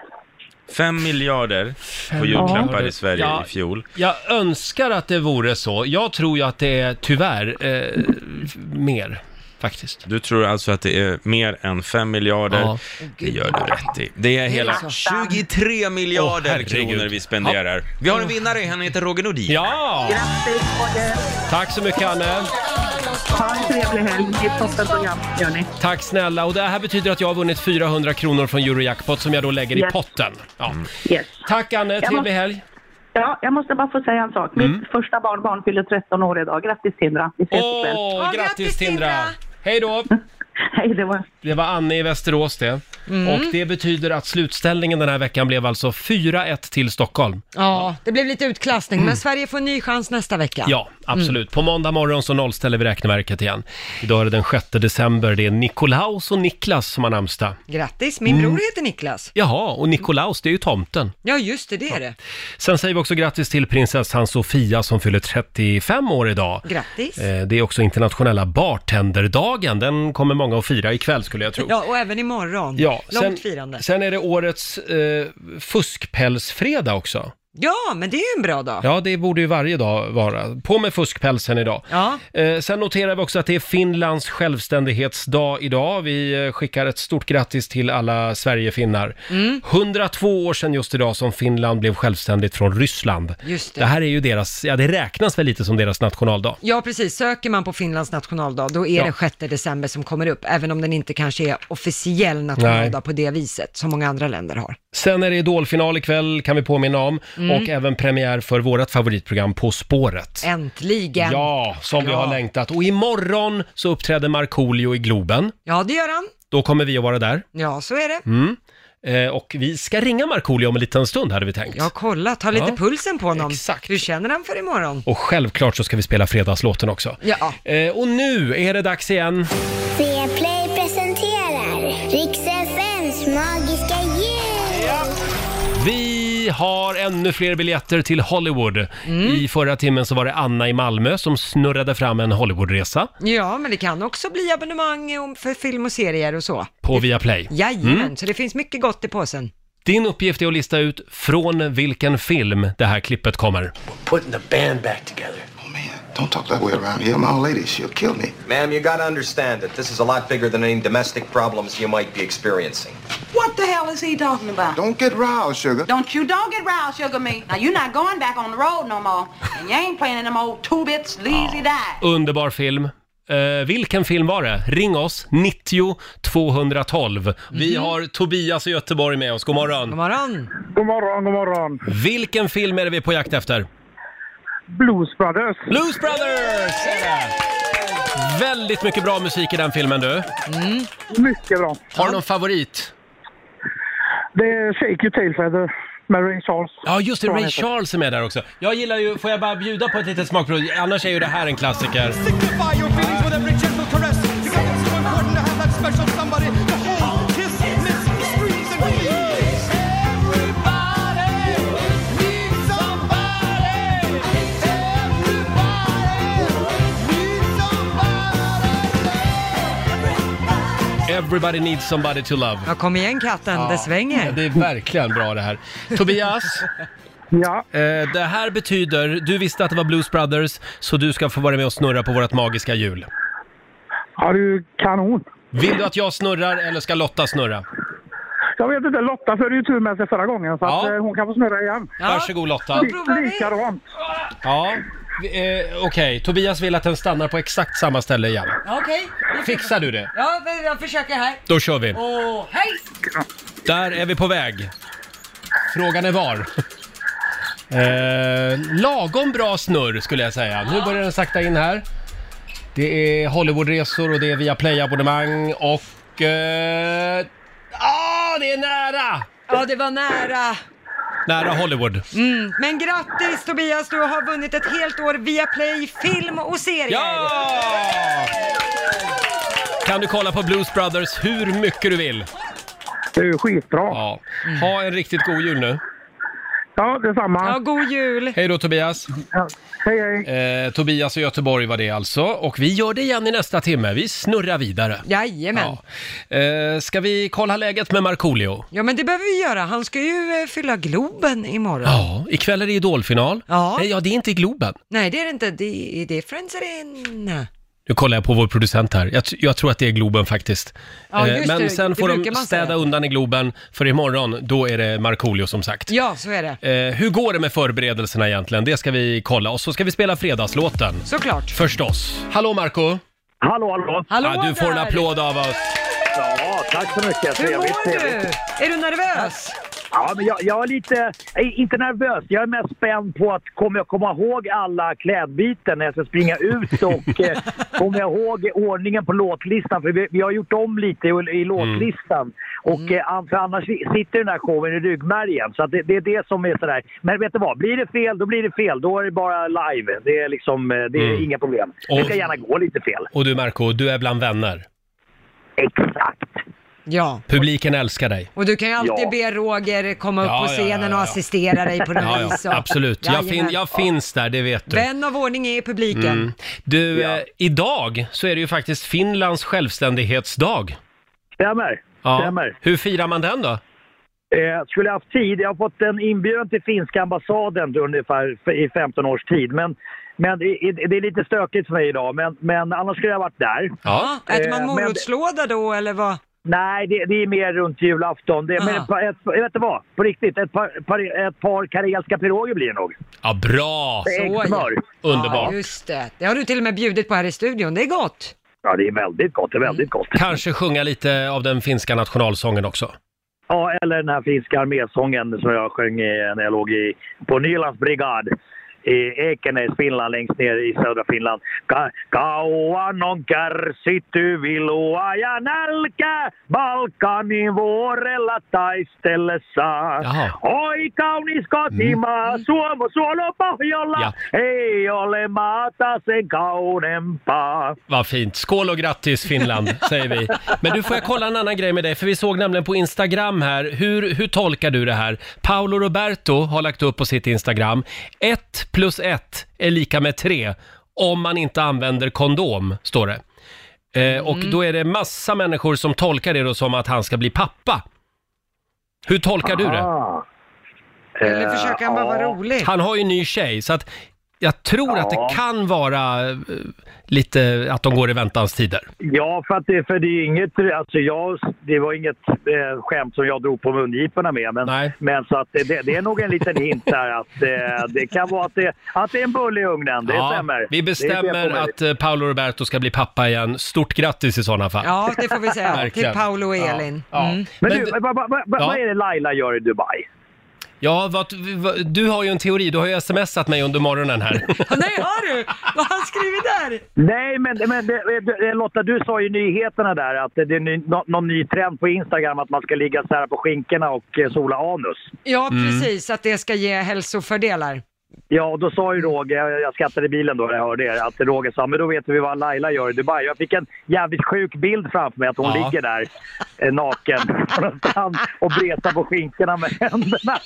Speaker 3: Fem miljarder på
Speaker 1: miljarder.
Speaker 3: julklappar i Sverige
Speaker 1: Ja.
Speaker 3: i fjol.
Speaker 1: Jag önskar att det vore så. Jag tror ju att det är tyvärr eh, mer, faktiskt.
Speaker 3: Du tror alltså att det är mer än 5 miljarder?
Speaker 1: Ja.
Speaker 3: Det gör du rätt i. Det är hela 23 miljarder kronor vi spenderar. Vi har en vinnare, han heter Roger Nordin.
Speaker 1: Ja! Tack så mycket, Anne.
Speaker 7: Ha en trevlig helg. Det är ett toppenprogram, gör ni.
Speaker 1: Tack snälla. Och det här betyder att jag har vunnit 400 kronor från Eurojackpot som jag då lägger i
Speaker 7: Yes.
Speaker 1: potten. Ja.
Speaker 7: Yes.
Speaker 1: Tack Anne,
Speaker 7: Jag
Speaker 1: trevlig
Speaker 7: måste-
Speaker 1: helg.
Speaker 7: Ja, jag måste bara få säga en sak. Mitt
Speaker 1: Mm.
Speaker 7: första barnbarn fyller 13 år idag. Grattis Tindra! Vi ses ikväll.
Speaker 1: Åh, grattis Tindra! Hej då!
Speaker 7: Hej, det var...
Speaker 1: Det var Anne i Västerås det.
Speaker 2: Mm.
Speaker 1: Och det betyder att slutställningen den här veckan blev alltså 4-1 till Stockholm.
Speaker 2: Ja, det blev lite utklassning, men Sverige får en ny chans nästa vecka.
Speaker 1: Mm.
Speaker 2: Mm.
Speaker 1: Ja, absolut. På måndag morgon så nollställer vi räkneverket igen. Idag är det den 6 december. Det är Nikolaus och Niklas som har namnsdag.
Speaker 2: Grattis, min
Speaker 1: Mm.
Speaker 2: bror heter Niklas.
Speaker 1: Jaha, och Nikolaus, det är ju tomten.
Speaker 2: Ja, just det, det är det.
Speaker 1: Sen säger vi också grattis till prinsessan Sofia som fyller 35 år idag.
Speaker 2: Grattis.
Speaker 1: Eh, Det är också internationella bartenderdagen. Den kommer många att fira ikväll skulle jag tro.
Speaker 2: Ja, och även imorgon.
Speaker 1: Ja,
Speaker 2: Långt
Speaker 1: sen-
Speaker 2: firande.
Speaker 1: Sen är det årets eh, fuskpälsfredag också.
Speaker 2: Ja, men det är ju en bra dag.
Speaker 1: Ja, det borde ju varje dag vara. På med fuskpälsen idag. Eh, sen noterar vi också att det är Finlands självständighetsdag idag. Vi eh, skickar ett stort grattis till alla Sverigefinnar.
Speaker 2: Mm.
Speaker 1: 102 år sedan just idag som Finland blev självständigt från Ryssland.
Speaker 2: Just det.
Speaker 1: det här är ju deras, ja det räknas väl lite som deras nationaldag.
Speaker 2: Ja, precis. Söker man på Finlands nationaldag, då är
Speaker 1: Ja.
Speaker 2: det 6 december som kommer upp, även om den inte kanske är officiell nationaldag på det viset, som många andra länder har.
Speaker 1: Sen är det idolfinal ikväll, kan vi påminna om.
Speaker 2: Mm.
Speaker 1: Och även premiär för vårt favoritprogram På spåret.
Speaker 2: Äntligen!
Speaker 1: Ja, som vi
Speaker 2: Ja.
Speaker 1: har längtat. Och imorgon så uppträder Markoolio i Globen.
Speaker 2: Ja, det gör han.
Speaker 1: Då kommer vi att vara där.
Speaker 2: Ja, så är det.
Speaker 1: Mm. Eh, och vi ska ringa Markoolio om en liten stund hade vi tänkt.
Speaker 2: Ja, kolla, ta lite
Speaker 1: Ja.
Speaker 2: pulsen på honom. Exakt. Hur känner han för imorgon?
Speaker 1: Och självklart så ska vi spela fredagslåten också.
Speaker 2: Ja.
Speaker 1: Eh, och nu är det dags igen.
Speaker 18: Viaplay presenterar Riks FMs magiska jul.
Speaker 1: Vi har ännu fler biljetter till Hollywood.
Speaker 2: Mm.
Speaker 1: I förra timmen så var det Anna i Malmö som snurrade fram en Hollywoodresa
Speaker 2: Ja, men det kan också bli abonnemang om- för film och serier och så.
Speaker 1: på Viaplay.
Speaker 2: Jajamän,
Speaker 1: Mm.
Speaker 2: så det finns mycket gott i påsen.
Speaker 1: Din uppgift är att lista ut från vilken film det här klippet kommer.
Speaker 8: putting the band back together. Oh man, don't talk that way around here. My old lady, she'll kill me.
Speaker 9: Ma'am, you gotta understand that this is a lot bigger than any domestic problems you might be experiencing.
Speaker 10: What the hell is he talking about?
Speaker 8: Don't get roused, sugar.
Speaker 10: Don't you don't get riled, sugar me. Now you're not going back on the road no more, and you ain't playing in them old two bits lazy die.
Speaker 1: Underbar film. Eh, vilken film var det? Ring oss, 90 212. Vi har Tobias i Göteborg med oss. God morgon. God
Speaker 2: morgon.
Speaker 23: God morgon, god morgon.
Speaker 1: Vilken film är det vi är på jakt efter?
Speaker 23: Blues Brothers.
Speaker 1: Blues Brothers! är det. Väldigt mycket bra musik i den filmen du.
Speaker 23: Mycket bra.
Speaker 1: Har du någon favorit?
Speaker 23: Det är Shake Your Tail Feather. med Ray Charles.
Speaker 1: Ja, just det.
Speaker 23: Tror jag
Speaker 1: Ray
Speaker 23: heter.
Speaker 1: Charles är med där också. Jag gillar ju, får jag bara bjuda på ett litet smakprov? Annars är ju det här en klassiker.
Speaker 6: Signify your feelings with every gentle caress. Because it's so important to have that special somebody to hold, kiss, lift, squeeze, and please. Everybody needs somebody.
Speaker 1: Everybody needs somebody to love.
Speaker 2: Ja, kom igen katten, det svänger.
Speaker 1: Det är verkligen bra det här. Tobias? Eh,
Speaker 23: Ja?
Speaker 1: Det här betyder, du visste att det var Blues Brothers, så du ska få vara med och snurra på vårt magiska hjul.
Speaker 23: Ja, du kanon.
Speaker 1: Vill du att jag snurrar eller ska Lotta snurra?
Speaker 23: Jag vet inte, Lotta förde ju tur med sig förra gången så att,
Speaker 1: Ja.
Speaker 23: eh, hon kan få snurra igen.
Speaker 1: Varsågod Lotta.
Speaker 23: Li- Likadant.
Speaker 1: Ja, eh, okej. Tobias vill att den stannar på exakt samma ställe igen.
Speaker 12: Okej.
Speaker 1: Fixar du det?
Speaker 12: Ja, men jag försöker här.
Speaker 1: Då kör vi.
Speaker 12: Åh, hej!
Speaker 1: Där är vi på väg. Frågan är var. Eh, lagom bra snurr skulle jag säga. Nu börjar den sakta in här. Det är Hollywoodresor och det är via Play-abonnemang och... Eh, ah, det är nära!
Speaker 2: Ja, det var nära.
Speaker 1: nära Hollywood.
Speaker 2: Mm. Men grattis Tobias, du har vunnit ett helt år via Play film och serier.
Speaker 1: Kan du kolla på Blues Brothers hur mycket du vill?
Speaker 23: Det är ju skitbra.
Speaker 1: Ja.
Speaker 2: Mm.
Speaker 1: Ha en riktigt god jul nu.
Speaker 23: Ja, detsamma.
Speaker 2: Ja, god jul!
Speaker 1: Hej då Tobias!
Speaker 23: Hej, hej!
Speaker 1: Eh, Tobias och Göteborg var det alltså. Och vi gör det igen i nästa timme. Vi snurrar vidare.
Speaker 2: Jajamän.
Speaker 1: Ja. Eh, ska vi kolla läget med Markoolio?
Speaker 2: Ja, men det behöver vi göra. Han ska ju eh, fylla Globen imorgon.
Speaker 1: Ja, ikväll är det Idolfinal.
Speaker 2: Ja.
Speaker 1: Nej, ja, det är inte i Globen.
Speaker 2: Nej, det är det inte. Det är, det är Friends Arena.
Speaker 1: Nu kollar jag på vår producent här. Jag, tr- jag tror att det är Globen faktiskt. Eh,
Speaker 2: Ja, just
Speaker 1: men
Speaker 2: det.
Speaker 1: sen
Speaker 2: Det
Speaker 1: får de
Speaker 2: brukar man
Speaker 1: städa
Speaker 2: säga.
Speaker 1: undan i Globen, för imorgon då är det Markoolio som sagt.
Speaker 2: Ja, så är det.
Speaker 1: Eh, hur går det med förberedelserna egentligen? Det ska vi kolla. Och så ska vi spela fredagslåten.
Speaker 2: Såklart.
Speaker 1: Förstås. Hallå Marco
Speaker 23: Hallå, hallå!
Speaker 2: Hallå
Speaker 1: ja, Du får en
Speaker 2: där.
Speaker 1: applåd av oss.
Speaker 23: Ja, tack så mycket.
Speaker 2: Hur mår du? Är du nervös?
Speaker 23: Ja, men jag, jag är lite, eh, inte nervös, jag är mest spänd på att kommer jag komma ihåg alla klädbyten när jag ska springa ut och eh, kommer jag ihåg ordningen på låtlistan? För vi, vi har gjort om lite i, i
Speaker 1: Mm.
Speaker 23: låtlistan och eh, an- för annars sitter den här showen i ryggmärgen. Så att det, det är det som är sådär. Men vet du vad, blir det fel då blir det fel. Då är det bara live. Det är liksom, eh, det är
Speaker 1: Mm.
Speaker 23: inga problem.
Speaker 1: Och-
Speaker 23: Det ska gärna gå lite fel.
Speaker 1: Och du Marco, du är bland vänner.
Speaker 23: Exakt.
Speaker 2: Ja.
Speaker 1: Publiken älskar dig.
Speaker 2: Och du kan ju alltid
Speaker 1: Ja.
Speaker 2: be Roger komma upp
Speaker 1: Ja,
Speaker 2: på
Speaker 1: ja,
Speaker 2: scenen
Speaker 1: ja,
Speaker 2: och
Speaker 1: ja.
Speaker 2: assistera dig på något
Speaker 1: Ja, ja,
Speaker 2: vis. och-
Speaker 1: absolut. Jag, fin,
Speaker 2: Jajamän.
Speaker 1: jag finns där, det vet du.
Speaker 2: Vän av ordning är i publiken.
Speaker 1: Mm. Du, eh, idag så är det ju faktiskt Finlands självständighetsdag.
Speaker 23: Stämmer.
Speaker 1: Ja.
Speaker 23: Stämmer.
Speaker 1: Hur firar man den då?
Speaker 23: Eh, skulle jag haft tid, jag har fått en inbjudan till finska ambassaden ungefär f- i 15 års tid. Men, men det, i- det är lite stökigt för mig idag, men, men annars skulle jag varit där.
Speaker 2: Ja. Äter man
Speaker 23: Eh, men-
Speaker 2: morotslåda då eller vad?
Speaker 23: Nej, det, det är mer runt julafton. Det, men
Speaker 2: Aha.
Speaker 23: ett, par- ett, vet du vad? På riktigt, ett par, par, ett par karelska piroger blir det nog.
Speaker 1: Ja, bra!
Speaker 23: Det är äggsmör.
Speaker 2: Ja,
Speaker 1: Underbart.
Speaker 2: just det. Det har du till och med bjudit på här i studion. Det är gott.
Speaker 23: Ja, det är väldigt gott. Det är väldigt gott.
Speaker 1: Kanske sjunga lite av den finska nationalsången också.
Speaker 23: Ja, eller den här finska armésången som jag sjöng i, när jag låg i, på Nylands brigad i Ekenäs, Finland, längst ner i södra Finland. Ka, kauan on kärsitty vilua ja nälkä Balkanin vuorella taistellessa.
Speaker 13: Jaha.
Speaker 23: Oi kaunis kotimaa, Suomo suolo pohjolla,
Speaker 1: Ja.
Speaker 23: ei ole maata sen kauneempaa.
Speaker 1: Vad fint. Skål och grattis Finland, säger vi. Men du, får jag kolla en annan grej med dig? För vi såg nämligen på Instagram här, hur, hur tolkar du det här? Paolo Roberto har lagt upp på sitt Instagram, 1 plus 1 är lika med 3 om man inte använder kondom, står det. Eh, och
Speaker 23: Mm.
Speaker 1: då är det massa människor som tolkar det då som att han ska bli pappa. Hur tolkar du det?
Speaker 23: Eller Ah. försöker han bara vara rolig?
Speaker 1: Han har ju en ny tjej, så att jag tror att det kan vara eh, lite att de går i väntans tider.
Speaker 23: Ja, för, att det, för det är inget, alltså jag, det var inget eh, skämt som jag drog på mungiporna med. Men, men så att det, det, det är nog en liten hint där att eh, det kan vara att det, att det är en bulle i ugnen. Det stämmer.
Speaker 1: Vi
Speaker 23: Det är
Speaker 1: bestämmer
Speaker 23: fel på mig.
Speaker 1: att eh, Paolo Roberto ska bli pappa igen. Stort grattis i sådana fall.
Speaker 2: Ja, det får vi säga. till
Speaker 1: Verkligen.
Speaker 2: Paolo och Elin.
Speaker 1: Ja.
Speaker 2: Mm.
Speaker 23: Men, du, vad- vad- vad-
Speaker 1: Ja.
Speaker 23: vad är det Laila gör i Dubai?
Speaker 1: Ja, vad, vad, du har ju en teori. Du har ju smsat mig under morgonen här.
Speaker 2: Nej, har du? Vad har han skrivit där?
Speaker 23: Nej, men, men det, det, Lotta, du sa ju i nyheterna där att det är ny, nå- någon ny trend på Instagram att man ska ligga så här på skinkorna och eh, sola anus.
Speaker 2: Ja, precis. Att det ska ge hälsofördelar.
Speaker 23: Ja, och då sa ju Roger, jag jag skrattade i bilen då när jag hörde det, att Roger sa men då vet vi vad Laila gör i Dubai. Jag fick en jävligt sjuk bild framför mig att hon
Speaker 6: Ja.
Speaker 23: ligger där eh, naken på någon strand och bretar på skinkorna med händerna.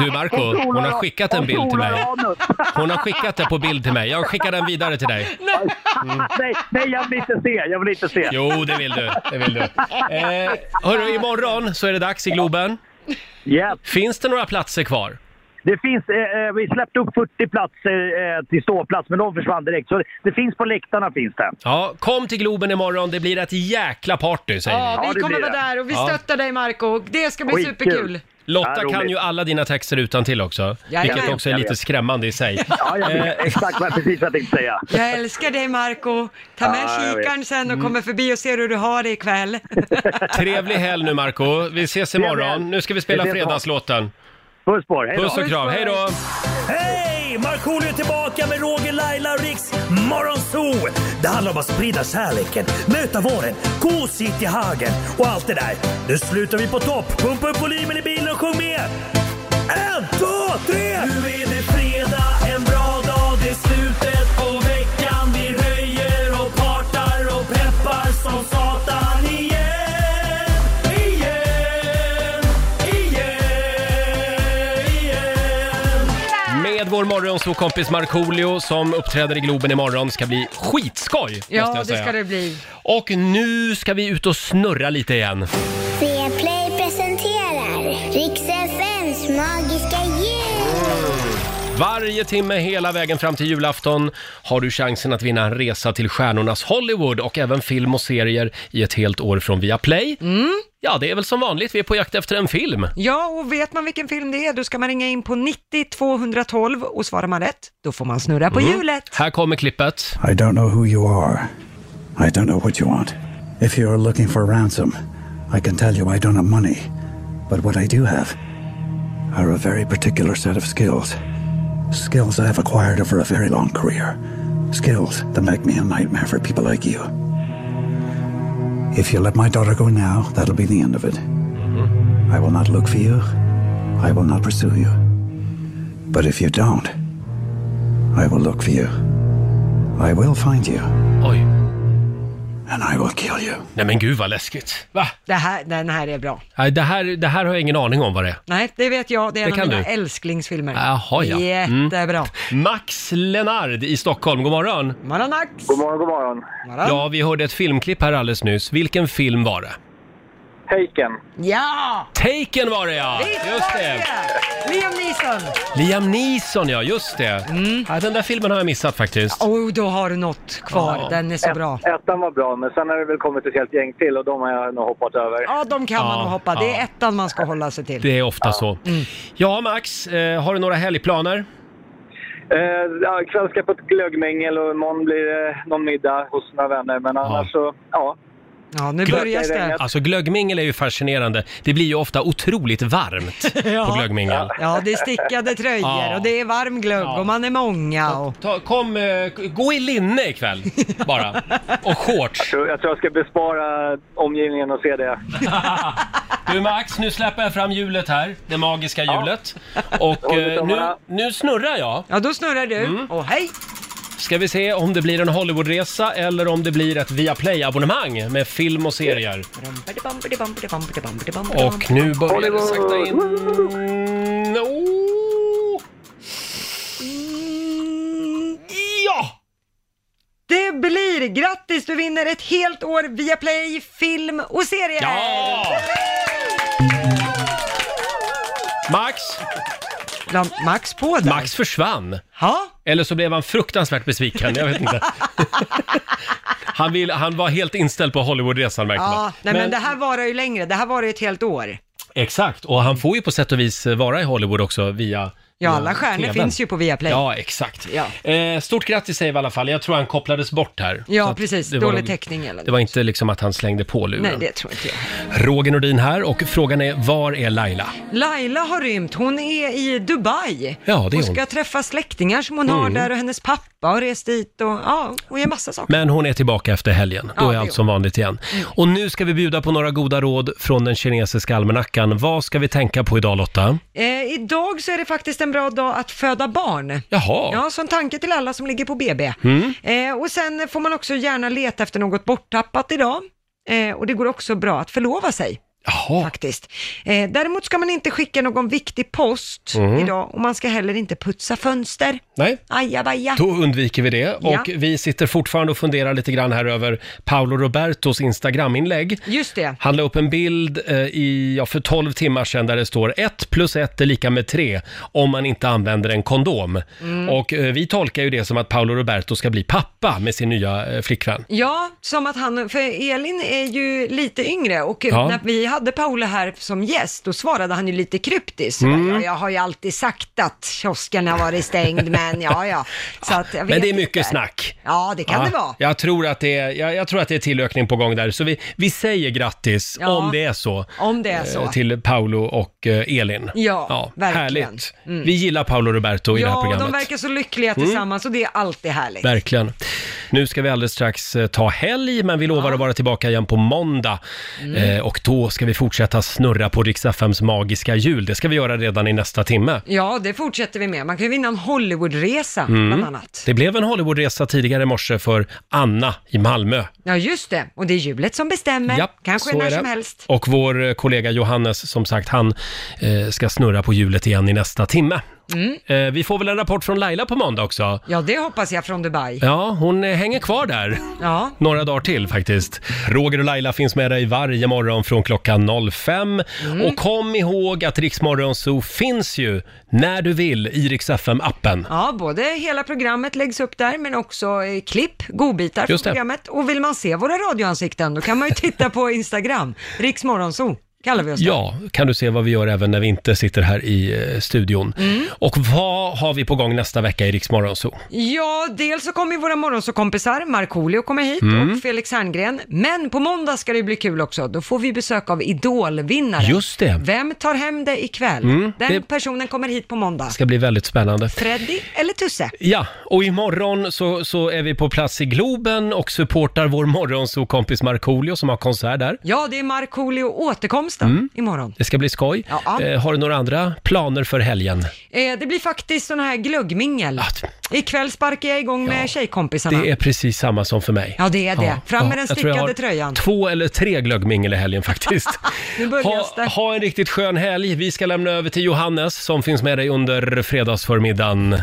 Speaker 1: Du Marco, hon har skickat en bild till mig. Hon har skickat det på bild till mig. Jag skickar den vidare till dig.
Speaker 23: nej, nej, jag vill inte se. Jag vill inte se.
Speaker 1: Jo, det vill du. Det vill du. Eh, hörru, imorgon så är det dags i Globen. Finns det några platser kvar?
Speaker 23: Det finns, eh, eh, vi släppte upp 40 platser eh, till ståplats, men de försvann direkt. Så det finns på läktarna finns det.
Speaker 1: Ja, kom till Globen imorgon. Det blir ett jäkla party säger vi.
Speaker 2: Ja, vi kommer vara där och vi
Speaker 1: Ja.
Speaker 2: stöttar dig Marco. Det ska bli superkul.
Speaker 1: Lotta kan ju alla dina texter utan till också,
Speaker 2: Jajamän.
Speaker 1: vilket också är
Speaker 2: Jag
Speaker 1: lite
Speaker 2: vet.
Speaker 1: skrämmande i sig.
Speaker 23: Ja, jag vet
Speaker 1: Eh,
Speaker 23: exakt vad precis vad jag tänkte säga.
Speaker 2: Jag älskar dig Marco. Ta med
Speaker 1: Ja, jag
Speaker 2: kikaren
Speaker 1: vet.
Speaker 2: sen och
Speaker 1: Mm.
Speaker 2: kommer förbi och ser hur du har det ikväll.
Speaker 1: Trevlig helg nu Marco. Vi ses imorgon. Nu ska vi spela
Speaker 23: Vi ses imorgon.
Speaker 1: fredagslåten.
Speaker 23: Puss på er,
Speaker 1: hej Puss och kram, hej då!
Speaker 13: Hej! Markoolio är tillbaka med Roger, Laila och Riks Morgonzoo! Det handlar om att sprida kärleken, möta våren, gosigt i hagen och allt det där. Nu slutar vi på topp! Pumpa upp volymen i bilen och sjung med! En, två, tre! Nu är det fredag, en bra dag, det är slutet på veckan. Vi röjer och partar och peppar som satan igen, igen, igen, igen.
Speaker 1: Med vår morgonsåkompis Markoolio som uppträder i Globen imorgon ska bli skitskoj! måste
Speaker 2: Ja,
Speaker 1: jag
Speaker 2: det
Speaker 1: säga.
Speaker 2: ska det bli.
Speaker 1: Och nu ska vi ut och snurra lite igen.
Speaker 18: Viaplay presenterar Riks FMs magiska jul.
Speaker 1: Varje timme hela vägen fram till julafton har du chansen att vinna en resa till stjärnornas Hollywood och även film och serier i ett helt år från Viaplay.
Speaker 2: Mm.
Speaker 1: Ja, det är väl som vanligt, vi är på jakt efter en film.
Speaker 2: Ja, och vet man vilken film det är, då ska man ringa in på 90 212 och svarar man rätt, då får man snurra på
Speaker 1: Mm.
Speaker 2: hjulet.
Speaker 1: Här kommer klippet.
Speaker 14: I don't know who you are. I don't know what you want. If you're looking for ransom, I can tell you I don't have money. But what I do have are a very particular set of skills. Skills I have acquired over a very long career. Skills that make me a nightmare for people like you. If you let my daughter go now, that'll be the end of it.
Speaker 1: Mm-hmm.
Speaker 14: I will not look for you. I will not pursue you. But if you don't, I will look for you. I will find you.
Speaker 1: Oj.
Speaker 14: And I will kill you.
Speaker 1: Nej men gud vad läskigt.
Speaker 2: Det här, den här är bra.
Speaker 1: Nej, det, här, det här har jag ingen aning om vad det är.
Speaker 2: Nej, det vet jag. Det är
Speaker 1: Det
Speaker 2: en av
Speaker 1: kan
Speaker 2: mina
Speaker 1: du.
Speaker 2: älsklingsfilmer.
Speaker 1: Jaha ja. Mm.
Speaker 2: Jättebra.
Speaker 1: Max Lenard i Stockholm, god morgon.
Speaker 2: Morgon Max!
Speaker 24: God morgon, god morgon.
Speaker 1: Ja, vi hörde ett filmklipp här alldeles nyss. Vilken film var det?
Speaker 24: Taken.
Speaker 2: Ja!
Speaker 1: Taken var det ja!
Speaker 2: Visst var
Speaker 1: Just det!
Speaker 2: Liam Neeson!
Speaker 1: Liam Neeson ja, just det.
Speaker 2: Mm.
Speaker 1: Ja, den där filmen har jag missat faktiskt.
Speaker 2: Oh, då har du något kvar.
Speaker 1: Ja.
Speaker 2: Den är så bra.
Speaker 24: Ettan var bra, men sen har det väl kommit ett helt gäng till och de har jag nog hoppat över.
Speaker 2: Ja, de kan man
Speaker 1: Ja,
Speaker 2: nog hoppa. Det
Speaker 1: ja.
Speaker 2: är Mm. ettan man ska hålla sig till.
Speaker 1: Det är ofta så. Ja, Max, eh, har du några helgplaner?
Speaker 24: Eh, ja, ikväll ska jag på ett glöggmängel och imorgon blir det någon middag hos några vänner. Men annars så, ja.
Speaker 2: Ja, nu
Speaker 24: Glögg- börjar det.
Speaker 1: Alltså glöggmingel är ju fascinerande. Det blir ju ofta otroligt varmt på glöggmingel.
Speaker 2: Ja, det är stickade tröjor
Speaker 1: Ja.
Speaker 2: och det är varm glögg och man är många. Och...
Speaker 1: Ta, kom, eh, gå i linne ikväll bara. Och shorts.
Speaker 24: Jag tror, jag tror jag ska bespara omgivningen och se det.
Speaker 1: Du Max, nu släpper jag fram hjulet här. Det magiska hjulet. Och
Speaker 24: håller
Speaker 1: eh, nu,
Speaker 24: tummarna.
Speaker 1: nu snurrar jag. Mm.
Speaker 2: Ja, då snurrar du. Och hej!
Speaker 1: Ska vi se om det blir en Hollywoodresa eller om det blir ett Viaplay-abonnemang med film och serier. Och nu börjar det sakta in. Oh. Ja!
Speaker 2: Det blir! Grattis, du vinner ett helt år via Play, film och serier!
Speaker 1: Ja! Max!
Speaker 2: Max på där.
Speaker 1: Max försvann.
Speaker 2: Ha?
Speaker 1: Eller så blev han fruktansvärt besviken, jag vet inte. han, vill, han var helt inställd på Hollywoodresan märkte man.
Speaker 2: Ja, nej men, det här varar ju längre, det här varar ju ett helt år.
Speaker 1: eh, Exakt, och han får ju på sätt och vis vara i Hollywood också via
Speaker 2: Ja, alla stjärnor
Speaker 1: TV:n.
Speaker 2: finns ju på Viaplay.
Speaker 1: Ja, exakt. Eh, stort grattis säger vi i alla fall. Jag tror han kopplades bort här. Så
Speaker 2: Ja,
Speaker 1: att
Speaker 2: precis.
Speaker 1: det var
Speaker 2: Dålig
Speaker 1: nog-
Speaker 2: täckning eller
Speaker 1: Det var inte liksom att han slängde på luren.
Speaker 2: Nej, det tror inte jag.
Speaker 1: Roger Nordin här och frågan är, var är Laila?
Speaker 2: Laila har rymt. Hon är i Dubai.
Speaker 1: Ja, det är
Speaker 2: hon
Speaker 1: hon.
Speaker 2: ska träffa släktingar som hon har
Speaker 1: Mm.
Speaker 2: där och hennes pappa har rest dit och ja, hon gör massa saker.
Speaker 1: Men hon är tillbaka efter helgen. Då
Speaker 2: Ja,
Speaker 1: är
Speaker 2: det Mm.
Speaker 1: allt
Speaker 2: är
Speaker 1: som vanligt igen. Och nu ska vi bjuda på några goda råd från den kinesiska almanackan. Vad ska vi tänka på idag Lotta?
Speaker 2: Eh, idag så är det faktiskt en bra dag att föda barn.
Speaker 1: Jaha.
Speaker 2: Ja, så en tanke till alla som ligger på BB.
Speaker 1: Mm.
Speaker 2: Eh, och sen får man också gärna leta efter något borttappat idag. Eh, och det går också bra att förlova sig. Faktiskt. Eh, däremot ska man inte skicka någon viktig post
Speaker 1: Mm.
Speaker 2: idag och man ska heller inte putsa fönster.
Speaker 1: Nej.
Speaker 2: Ajabaja.
Speaker 1: Då undviker vi det. Och
Speaker 2: Ja.
Speaker 1: vi sitter fortfarande och funderar lite grann här över Paolo Robertos Instagram-inlägg.
Speaker 2: Just det.
Speaker 1: Han la upp en bild eh, i, ja, för 12 timmar sedan där det står 1 plus 1 är lika med 3 om man inte använder en kondom.
Speaker 2: Mm.
Speaker 1: Och eh, vi tolkar ju det som att Paolo Roberto ska bli pappa med sin nya eh, flickvän.
Speaker 2: Ja, som att han, för Elin är ju lite yngre och
Speaker 1: Ja.
Speaker 2: när vi hade Paula här som gäst, då svarade han ju lite kryptiskt.
Speaker 1: Mm.
Speaker 2: Ja, jag har ju alltid sagt att kiosken har varit stängd, men ja, ja. Så att jag
Speaker 1: Men
Speaker 2: vet
Speaker 1: det är mycket
Speaker 2: inte.
Speaker 1: snack.
Speaker 2: Ja, det kan
Speaker 1: Ja,
Speaker 2: det vara.
Speaker 1: Jag tror, att det är, jag, jag tror att det är tillökning på gång där, så vi, vi säger grattis
Speaker 2: Ja.
Speaker 1: om det är så.
Speaker 2: Om det är så.
Speaker 1: eh, Till Paolo och eh, Elin.
Speaker 2: Ja, verkligen.
Speaker 1: Härligt.
Speaker 2: Mm.
Speaker 1: Vi gillar Paolo Roberto i det här
Speaker 2: Ja, och
Speaker 1: programmet.
Speaker 2: de verkar så lyckliga
Speaker 1: Mm.
Speaker 2: tillsammans och det är alltid härligt.
Speaker 1: Verkligen. Nu ska vi alldeles strax eh, ta helg, men vi lovar att vara tillbaka igen på måndag.
Speaker 2: Mm.
Speaker 1: Eh, och då ska vi fortsätta snurra på Rix FMs magiska hjul. Det ska vi göra redan i nästa timme.
Speaker 2: Ja, det fortsätter vi med. Man kan ju vinna en Hollywoodresa bland
Speaker 1: Mm.
Speaker 2: annat.
Speaker 1: Det blev en Hollywoodresa tidigare i morse för Anna i Malmö.
Speaker 2: Ja, just det. Och det är hjulet som bestämmer.
Speaker 1: Ja,
Speaker 2: Kanske
Speaker 1: så
Speaker 2: när
Speaker 1: är det.
Speaker 2: som helst.
Speaker 1: Och vår eh, kollega Johannes, som sagt, han eh, ska snurra på hjulet igen i nästa timme.
Speaker 2: Mm.
Speaker 1: Eh, vi får väl en rapport från Laila på måndag också.
Speaker 2: Ja, det hoppas jag från Dubai.
Speaker 1: Ja, hon eh, hänger kvar där.
Speaker 2: Ja.
Speaker 1: Några dagar till faktiskt. Roger och Laila finns med dig varje morgon från klockan 05.
Speaker 2: Mm.
Speaker 1: Och kom ihåg att Riksmorgon Zoo finns ju när du vill i Rix FM-appen.
Speaker 2: Ja, både hela programmet läggs upp där, men också eh, klipp, godbitar från
Speaker 1: Just det.
Speaker 2: programmet. Och vill man se våra radioansikten, då kan man ju titta på Instagram. Riks Morgonzoo kallar vi oss där.
Speaker 1: Ja, kan du se vad vi gör även när vi inte sitter här i eh, studion.
Speaker 2: Mm.
Speaker 1: Och vad har vi på gång nästa vecka i Riksmorgon Zoo?
Speaker 2: Ja, dels så kommer ju våra morgonsåkompisar, Markoolio kommer hit
Speaker 1: Mm.
Speaker 2: och Felix Herngren. Men på måndag ska det bli kul också. Då får vi besök av Idolvinnaren.
Speaker 1: Just det.
Speaker 2: Vem tar hem det ikväll?
Speaker 1: Mm,
Speaker 2: Den
Speaker 1: det-
Speaker 2: personen kommer hit på måndag.
Speaker 1: Det ska bli väldigt spännande.
Speaker 2: Freddy eller Tusse?
Speaker 1: Ja, och imorgon så, så är vi på plats i Globen och supportar vår morgonsokompis Markoolio som har konsert där. Mm.
Speaker 2: Ja, det är Markoolio återkomsten imorgon.
Speaker 1: Det ska bli skoj.
Speaker 2: ja.
Speaker 1: Eh, har du några andra planer för helgen?
Speaker 2: Eh, det blir faktiskt sådana här glöggmingel. Ikväll sparkar jag igång med tjejkompisarna.
Speaker 1: Ah, Det är precis samma som för mig.
Speaker 2: Ja, det är det. Fram med den
Speaker 1: jag tror jag
Speaker 2: stickade
Speaker 1: har
Speaker 2: tröjan.
Speaker 1: Två eller tre glöggmingel i helgen faktiskt.
Speaker 2: Nu börjar
Speaker 1: ha, ha en riktigt skön helg. Vi ska lämna över till Johannes som finns med dig under fredagsförmiddagen.